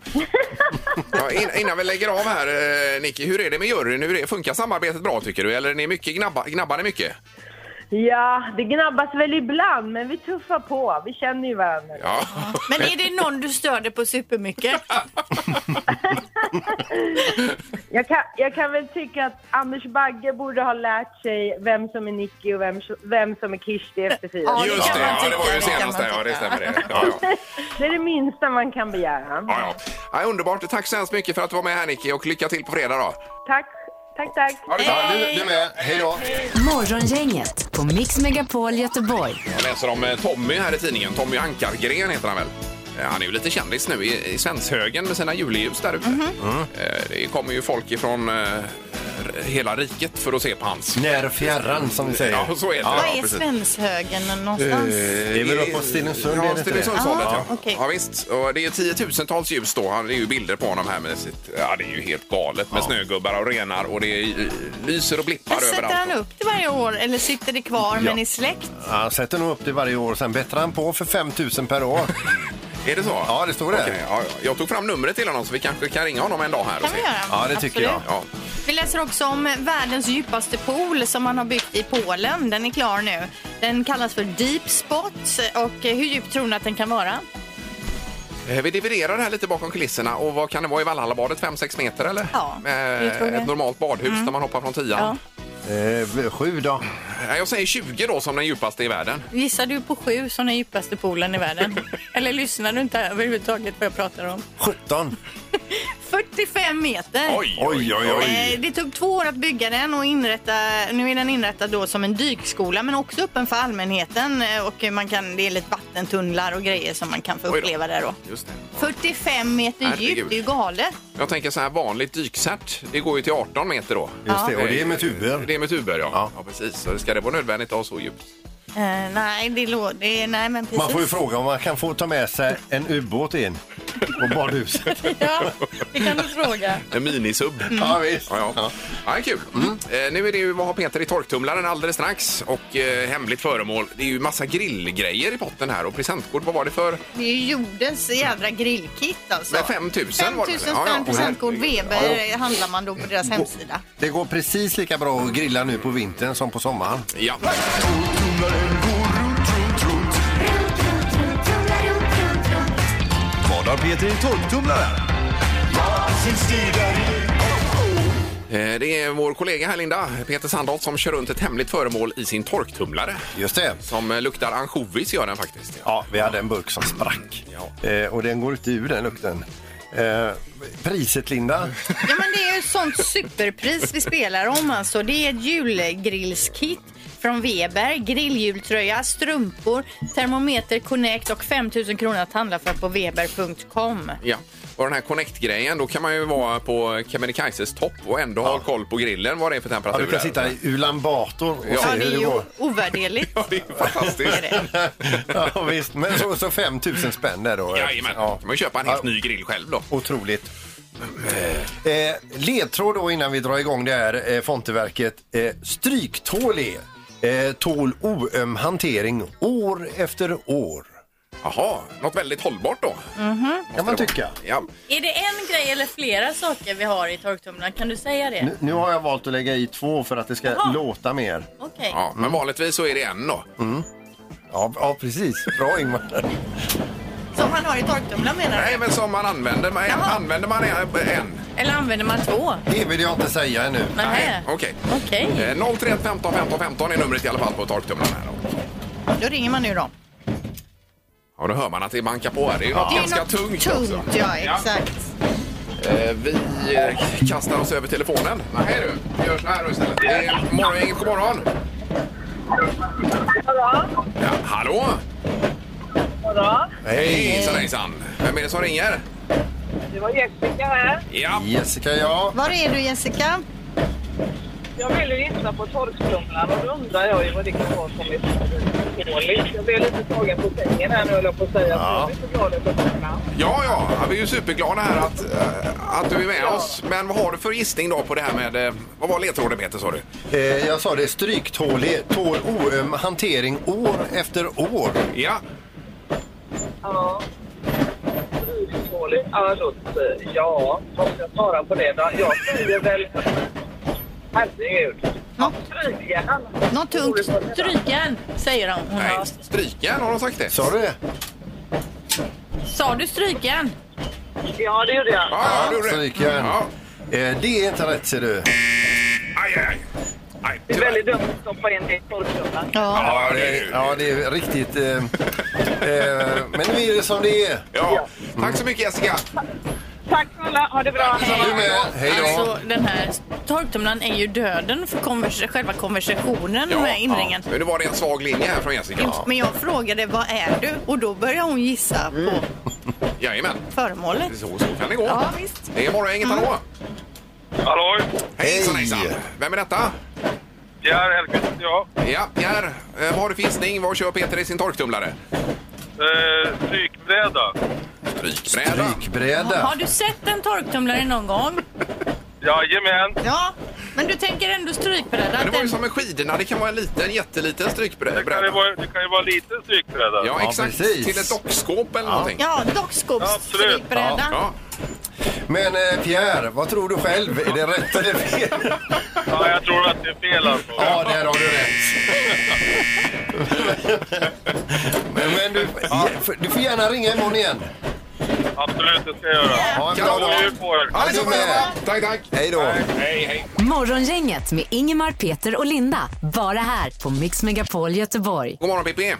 Speaker 2: Ja, in- innan vi lägger av här, eh, Nicky, hur är det med juryn? Hur är, funkar samarbetet bra tycker du? Eller är ni mycket gnabba, gnabbar ni mycket?
Speaker 12: Ja, det gnabbas väl ibland, men vi tuffar på. Vi känner ju varandra.
Speaker 2: Ja.
Speaker 4: Men är det någon du stör dig på supermycket?
Speaker 12: Jag kan, jag kan väl tycka att Anders Bagge borde ha lärt sig vem som är Nicky och vem, vem som är Kirsti efter fyra.
Speaker 2: Just det, ja, det var ju senast där. Ja, det stämmer det. Ja, ja.
Speaker 12: Det är det minsta man kan begära.
Speaker 2: Ja, ja. Ja, underbart. Tack så hemskt mycket för att du var med här, Nicky, och lycka till på fredag då.
Speaker 12: Tack, tack, tack.
Speaker 3: Ja, du, du med. Hej då.
Speaker 1: Morgongänget på Mix Megapol Göteborg.
Speaker 2: Jag läser om eh, Tommy här i tidningen. Tommy Ankargren heter han väl? Eh, Han är ju lite kändis nu i, i
Speaker 4: Mhm.
Speaker 2: Mm. Svenshögen med sina julljus där ute. Eh, Det kommer ju folk ifrån eh, r- hela riket för att se på hans.
Speaker 3: När fjärran som vi säger.
Speaker 2: Ja, så är det.
Speaker 4: Vad
Speaker 2: Ja,
Speaker 4: är
Speaker 2: precis.
Speaker 4: Svenshögen någonstans?
Speaker 3: Eh, Det är väl uppåt Stenungsund, är det
Speaker 2: Ja,
Speaker 3: inte
Speaker 2: Stenungsundshållet.
Speaker 3: det?
Speaker 2: Ja,
Speaker 4: Ah, okej.
Speaker 2: ja, visst. Och det är tiotusentals ljus då. Han- Det är ju bilder på honom här med sitt... Ja, det är ju helt galet med snögubbar och renar och det är, lyser och blippar
Speaker 4: Sätter
Speaker 2: överallt.
Speaker 4: han upp det varje år eller sitter det kvar men
Speaker 3: Ja.
Speaker 4: i släkt?
Speaker 3: Han sätter nog upp det varje år, sen bättrar han på för 5 000 per år.
Speaker 2: Är det så?
Speaker 3: Ja, det står det.
Speaker 2: Okej, ja, ja. Jag tog fram numret till honom så vi kanske kan ringa honom en dag här och
Speaker 4: Kan vi
Speaker 2: se.
Speaker 4: göra? Ja, det tycker Absolut.
Speaker 2: Ja.
Speaker 4: Vi läser också om världens djupaste pool som man har byggt i Polen. Den är klar nu. Den kallas för Deep Spot. Och eh, hur djup tror ni att den kan vara?
Speaker 2: Eh, Vi dividerar det här lite bakom kulisserna och vad kan det vara i Vallhallabadet? 5-6 meter eller?
Speaker 4: Ja,
Speaker 2: Med
Speaker 4: det tror jag.
Speaker 2: Ett normalt badhus
Speaker 4: Mm.
Speaker 2: där man hoppar från tian. Eh,
Speaker 3: Eh, sju då?
Speaker 2: Jag säger 20 då som den djupaste i världen.
Speaker 9: Gissar du på sju som den djupaste poolen i världen? Eller lyssnar du inte överhuvudtaget vad jag pratar om?
Speaker 3: 17.
Speaker 4: 45 meter.
Speaker 3: Oj, oj, oj, oj.
Speaker 4: Eh, Det tog två år att bygga den och inrätta, nu är den inrättad då som en dykskola men också öppen för allmänheten eh, och man kan, det är lite vattentunnlar och grejer som man kan få uppleva där då.
Speaker 2: Just det.
Speaker 4: 45 meter
Speaker 2: Herregud.
Speaker 4: djupt, det är ju galet.
Speaker 2: Jag tänker så här vanligt dykcert, det går ju till 18 meter då.
Speaker 3: Just det, och det är med
Speaker 2: tuber. Det är med tuber, ja. ja. precis. Så ska det vara nödvändigt att ha så djupt?
Speaker 4: Eh, nej, det lå- det, nej, men precis.
Speaker 3: Man får ju fråga om man kan få ta med sig en ubåt in på badhuset.
Speaker 4: ja, det kan du fråga.
Speaker 2: En minisub.
Speaker 3: Mm. Ja, visst.
Speaker 2: Ja, ja. Ja, det är kul. Eh, nu är det ju vad har Peter i torktumlaren alldeles strax och eh, hemligt föremål. Det är ju massa grillgrejer i potten här och presentkort. Vad var det för?
Speaker 4: Det är ju jordens jävla grillkit alltså.
Speaker 2: Med 5 000 var det
Speaker 4: 5000
Speaker 2: väl?
Speaker 4: spänn
Speaker 2: Ja, ja.
Speaker 4: presentkort Weber eh, handlar man då på deras hemsida.
Speaker 3: Det går precis lika bra att grilla nu på vintern som på sommaren.
Speaker 2: Ja.
Speaker 10: Vad har Peter i torktumlaren?
Speaker 2: Eh, Det är vår kollega här, Linda, Peter Sandholt, som kör runt ett hemligt föremål i sin torktumlare.
Speaker 3: Just det.
Speaker 2: Som eh, luktar ansjovis, gör den faktiskt.
Speaker 3: Ja, vi hade en burk som sprack. Eh, och den går inte ur den lukten. Eh, priset Linda?
Speaker 4: Ja, men det är ju ett sånt superpris vi spelar om alltså. Det är ett julgrillskit från Weber, grilljultröja, strumpor, termometer Connect och 5000 kronor att handla för på weber.com.
Speaker 2: Ja. Och den här Connect-grejen, då kan man ju vara på Kebnekaises topp och ändå ha koll på grillen, vad det är för
Speaker 3: Ja,
Speaker 2: temperatur.
Speaker 3: du kan sitta i Ulan Bator och
Speaker 2: Ja.
Speaker 3: se
Speaker 2: Ja, det
Speaker 3: hur
Speaker 2: är
Speaker 3: det
Speaker 2: ju-
Speaker 3: går.
Speaker 4: Ovärderligt.
Speaker 2: Ja, det är fantastiskt.
Speaker 3: ja, visst. Men så, så 5 000 spänn där då.
Speaker 2: Jajamän,
Speaker 3: Ja.
Speaker 2: kan man ju köpa en helt ny grill själv då.
Speaker 3: Otroligt. Eh, ledtråd då innan vi drar igång det här eh, fonteverket. Eh, stryktål är eh, tål oöm hantering år efter år.
Speaker 2: Jaha, något väldigt hållbart då.
Speaker 4: Mm-hmm.
Speaker 9: Mhm.
Speaker 3: Kan man tycka.
Speaker 2: Ja.
Speaker 9: Är det en grej eller flera saker vi har i torktumlaren? Kan du säga det?
Speaker 2: Mm.
Speaker 3: Nu, nu har jag valt att lägga i två för att det ska låta mer.
Speaker 9: Okej.
Speaker 2: Ja, men vanligtvis så är det en då.
Speaker 3: Mm. Ja, ja, precis. Bra Ingmar.
Speaker 4: Som man har i torktumlaren menar
Speaker 2: Nej,
Speaker 4: du?
Speaker 2: men som man använder. Man, använder man en? en.
Speaker 9: Eller använder man två?
Speaker 3: Det vill jag inte säga ännu.
Speaker 9: Nähä.
Speaker 2: Okej.
Speaker 9: Okej.
Speaker 2: Eh, 031 15 15 15 är numret i alla fall på torktumlaren här. då.
Speaker 4: Då ringer man nu då.
Speaker 2: Ja, då hör man att det bankar på här. Det är ju något
Speaker 4: Det är
Speaker 2: ganska
Speaker 4: något
Speaker 2: tungt, också.
Speaker 4: tungt ja, exakt.
Speaker 2: Eh, vi eh, kastar oss över telefonen. Nej du, vi gör så här då istället. Det är morgon, god morgon. Ja, hallå!
Speaker 7: Goddag.
Speaker 2: Hej, hejsan hejsan. Vem är det som ringer?
Speaker 7: Det var Jessica här.
Speaker 2: Ja.
Speaker 3: Jessica, ja.
Speaker 4: Var är du Jessica?
Speaker 7: Jag ville gissa på torktumlaren och då undrar jag ju vad det kan vara som är dåligt. Jag blev lite tagen på sängen här nu höll jag på att säga. Ja.
Speaker 2: Ja.
Speaker 7: Jag är så glad att jag kom fram.
Speaker 2: Ja, ja, ja, vi är ju superglada här att, eh, att du är med oss. Men vad har du för gissning då på det här med... eh, Vad var ledtråden Peter sa du?
Speaker 3: Eh, jag sa det, stryktål är- tål oöm hantering år efter år.
Speaker 2: Ja.
Speaker 7: Ja. Dåligt. Ja, låt- Ja, vad ska jag svara på det då? Jag säger väl... Herregud.
Speaker 4: Något,
Speaker 7: Strykjärn.
Speaker 4: något tungt.
Speaker 9: Strykjärn, säger hon. hon har.
Speaker 2: Strykjärn, har de sagt det?
Speaker 3: Sa du det?
Speaker 9: Sa du strykjärn?
Speaker 7: Ja, det gjorde jag.
Speaker 2: Ja, du
Speaker 3: Strykjärn. Eh, det är inte rätt ser du.
Speaker 2: Aj, aj, aj. aj.
Speaker 7: Det är väldigt dumt att stoppa in det i torktumlaren.
Speaker 3: Ja, det är, ja, det är riktigt. Eh, eh, men nu är det som det är.
Speaker 2: Ja. Tack så mycket Jessica.
Speaker 7: Tack snälla, ha det bra.
Speaker 3: Hej då.
Speaker 9: Alltså, den här torktumlaren är ju döden för konvers- själva konversationen med inringen.
Speaker 2: Nu var det en svag linje här från Jessica.
Speaker 4: Men jag frågade vad är du? Och då började hon gissa på
Speaker 2: Jajamän.
Speaker 4: föremålet.
Speaker 2: Så, så kan det gå.
Speaker 4: Ja, visst. Mm.
Speaker 2: Det är morgongänget, hallå!
Speaker 11: Hallå?
Speaker 2: Hejsan hejsan! Vem är detta?
Speaker 11: Pierre Hellqvist heter jag.
Speaker 2: Ja, Pierre. Eh, Vad har du för gissning? Vad kör Peter i sin torktumlare?
Speaker 11: Eh, strykbräda.
Speaker 2: Strykbräda.
Speaker 9: Har du sett en torktumlare någon gång?
Speaker 11: Jajamän.
Speaker 9: Ja, men du tänker ändå strykbräda?
Speaker 2: Men det var ju som med skidorna. Det kan vara en liten, jätteliten strykbräda. Det kan ju
Speaker 11: vara, det kan ju vara en liten strykbräda.
Speaker 2: Ja,
Speaker 3: Ja,
Speaker 2: exakt.
Speaker 3: precis.
Speaker 2: Till ett dockskåp eller någonting.
Speaker 9: Ja, dockskåpsstrykbräda.
Speaker 2: Ja.
Speaker 3: Men eh, Pierre, vad tror du själv? Är det rätt eller fel?
Speaker 11: Ja, jag tror att det är fel alltså.
Speaker 3: Ja, där har du rätt. men men du, du får gärna ringa imorgon igen.
Speaker 11: Absolut, det ska jag göra.
Speaker 3: Ha en bra
Speaker 11: Kanon.
Speaker 3: dag.
Speaker 11: Jul på er.
Speaker 3: Ja, det är så bra.
Speaker 2: Tack, tack.
Speaker 3: Hej då.
Speaker 11: Hej, hej.
Speaker 1: Morgongänget med Ingemar, Peter och Linda. Bara här på Mix Megapol Göteborg.
Speaker 2: God morgon Pippi!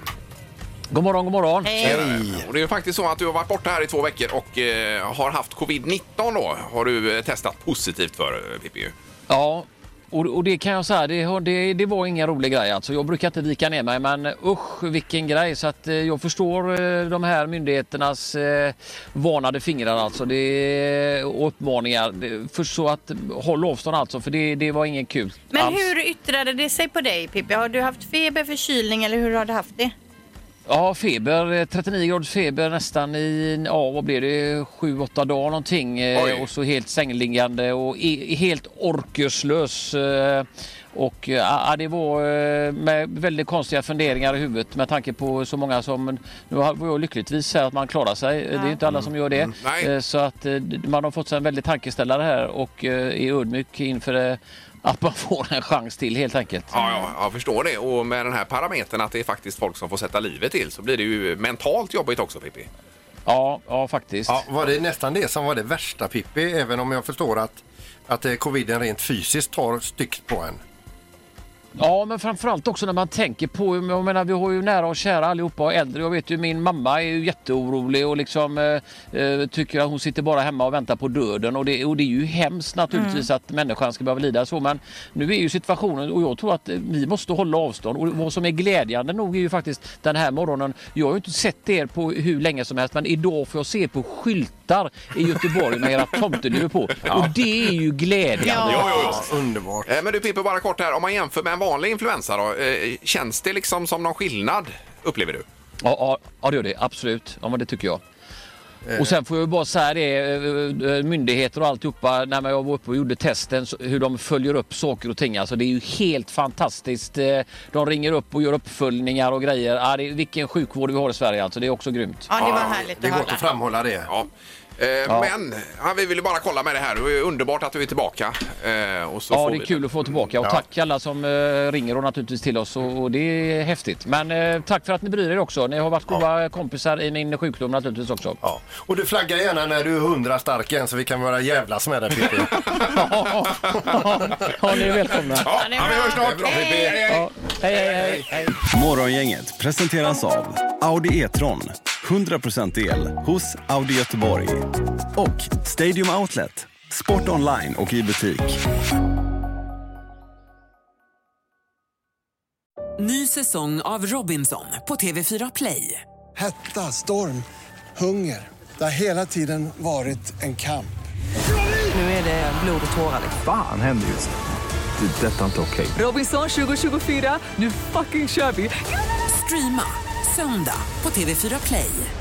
Speaker 13: God morgon, god morgon.
Speaker 2: Tjenare. Och det är ju faktiskt så att du har varit borta här i två veckor och eh, har haft covid-19 då. Har du eh, testat positivt för eh, Pippi? ju.
Speaker 14: Ja, och, och det kan jag säga, det, har- det, det var ingen rolig grej alltså. Jag brukar inte vika ner mig, men usch vilken grej. Så att eh, jag förstår eh, de här myndigheternas eh, varnade fingrar alltså. Det, och uppmaningar. Det, för så att håll avstånd alltså, för det, det var ingen kul
Speaker 9: Men
Speaker 14: alls.
Speaker 9: hur yttrade det sig på dig Pippi? Har du haft feber, förkylning eller hur har du haft det?
Speaker 14: Ja, feber. eh, 39 graders feber nästan i, ja vad blev det, 7-8 dagar någonting. Eh, Och så helt sängliggande och i, helt orkeslös. eh, Och eh, ja, det var eh, med väldigt konstiga funderingar i huvudet med tanke på så många som, nu har- var jag lyckligtvis här att man klarar sig. Det är ju inte alla som gör det.
Speaker 2: Mm.
Speaker 14: Eh, Så att eh, man har fått sig en väldigt tankeställare här och eh, är ödmjuk inför eh, att man får en chans till helt enkelt.
Speaker 2: Ja, ja, jag förstår det. Och med den här parametern att det är faktiskt folk som får sätta livet till så blir det ju mentalt jobbigt också Pippi.
Speaker 14: Ja, ja faktiskt.
Speaker 3: Ja, var det nästan det som var det värsta Pippi, även om jag förstår att, att eh, coviden rent fysiskt tar styggt på en.
Speaker 14: Ja, men framförallt också när man tänker på, jag menar vi har ju nära och kära allihopa och äldre. Jag vet ju min mamma är ju jätteorolig och liksom eh, eh, tycker att hon sitter bara hemma och väntar på döden och det, och det är ju hemskt naturligtvis att människan ska behöva lida så. Men nu är ju situationen och jag tror att eh, vi måste hålla avstånd och vad som är glädjande nog är ju faktiskt den här morgonen. Jag har ju inte sett er på hur länge som helst men idag får jag se er på skyltar i Göteborg med era tomteluvor på och det är ju glädjande.
Speaker 3: underbart.
Speaker 2: Eh, Men du Pippi, bara kort här. Om man jämför med en vanlig influensa då, eh, känns det liksom som någon skillnad? Upplever du?
Speaker 14: Ja, ja, ja det gör det. Absolut. Ja, men det tycker jag. Och sen får jag ju bara säga det, eh, eh, myndigheter och alltihopa, när jag var uppe och gjorde testen, så- hur de följer upp saker och ting. Alltså det är ju helt fantastiskt. Eh, De ringer upp och gör uppföljningar och grejer. Ja, det är, vilken sjukvård vi har i Sverige alltså, det är också grymt.
Speaker 2: det är gott att
Speaker 3: framhålla det.
Speaker 2: Ja. Eh, Men ja, vi ville bara kolla med det här. Det var ju underbart att du är tillbaka. Eh, och så
Speaker 14: Ja,
Speaker 2: får
Speaker 14: det är
Speaker 2: vi-
Speaker 14: kul att få tillbaka och
Speaker 2: Ja.
Speaker 14: tack alla som eh, ringer och naturligtvis till oss och, och det är häftigt. Men eh, tack för att ni bryr er också. Ni har varit goda kompisar i min sjukdom naturligtvis också.
Speaker 3: Ja. Och du flaggar gärna när du är hundra stark igen så vi kan vara jävlas med dig Pippi.
Speaker 14: ja, ni är välkomna.
Speaker 2: Ja, vi hörs snart. Hej, hej, hej.
Speaker 14: Hej, hej, hej. hej.
Speaker 15: Morgongänget presenteras av Audi E-tron. 100% el hos Audi Göteborg. Och Stadium Outlet. Sport online och i butik.
Speaker 16: Ny säsong av Robinson på TV4 Play.
Speaker 17: Hetta, storm, hunger. Det har hela tiden varit en kamp.
Speaker 16: Nu är det blod och tårar. liksom.
Speaker 13: Fan händer just det. Det är detta inte okej.
Speaker 16: Robinson 2024, nu fucking kör vi! Streama söndag på TV4 Play.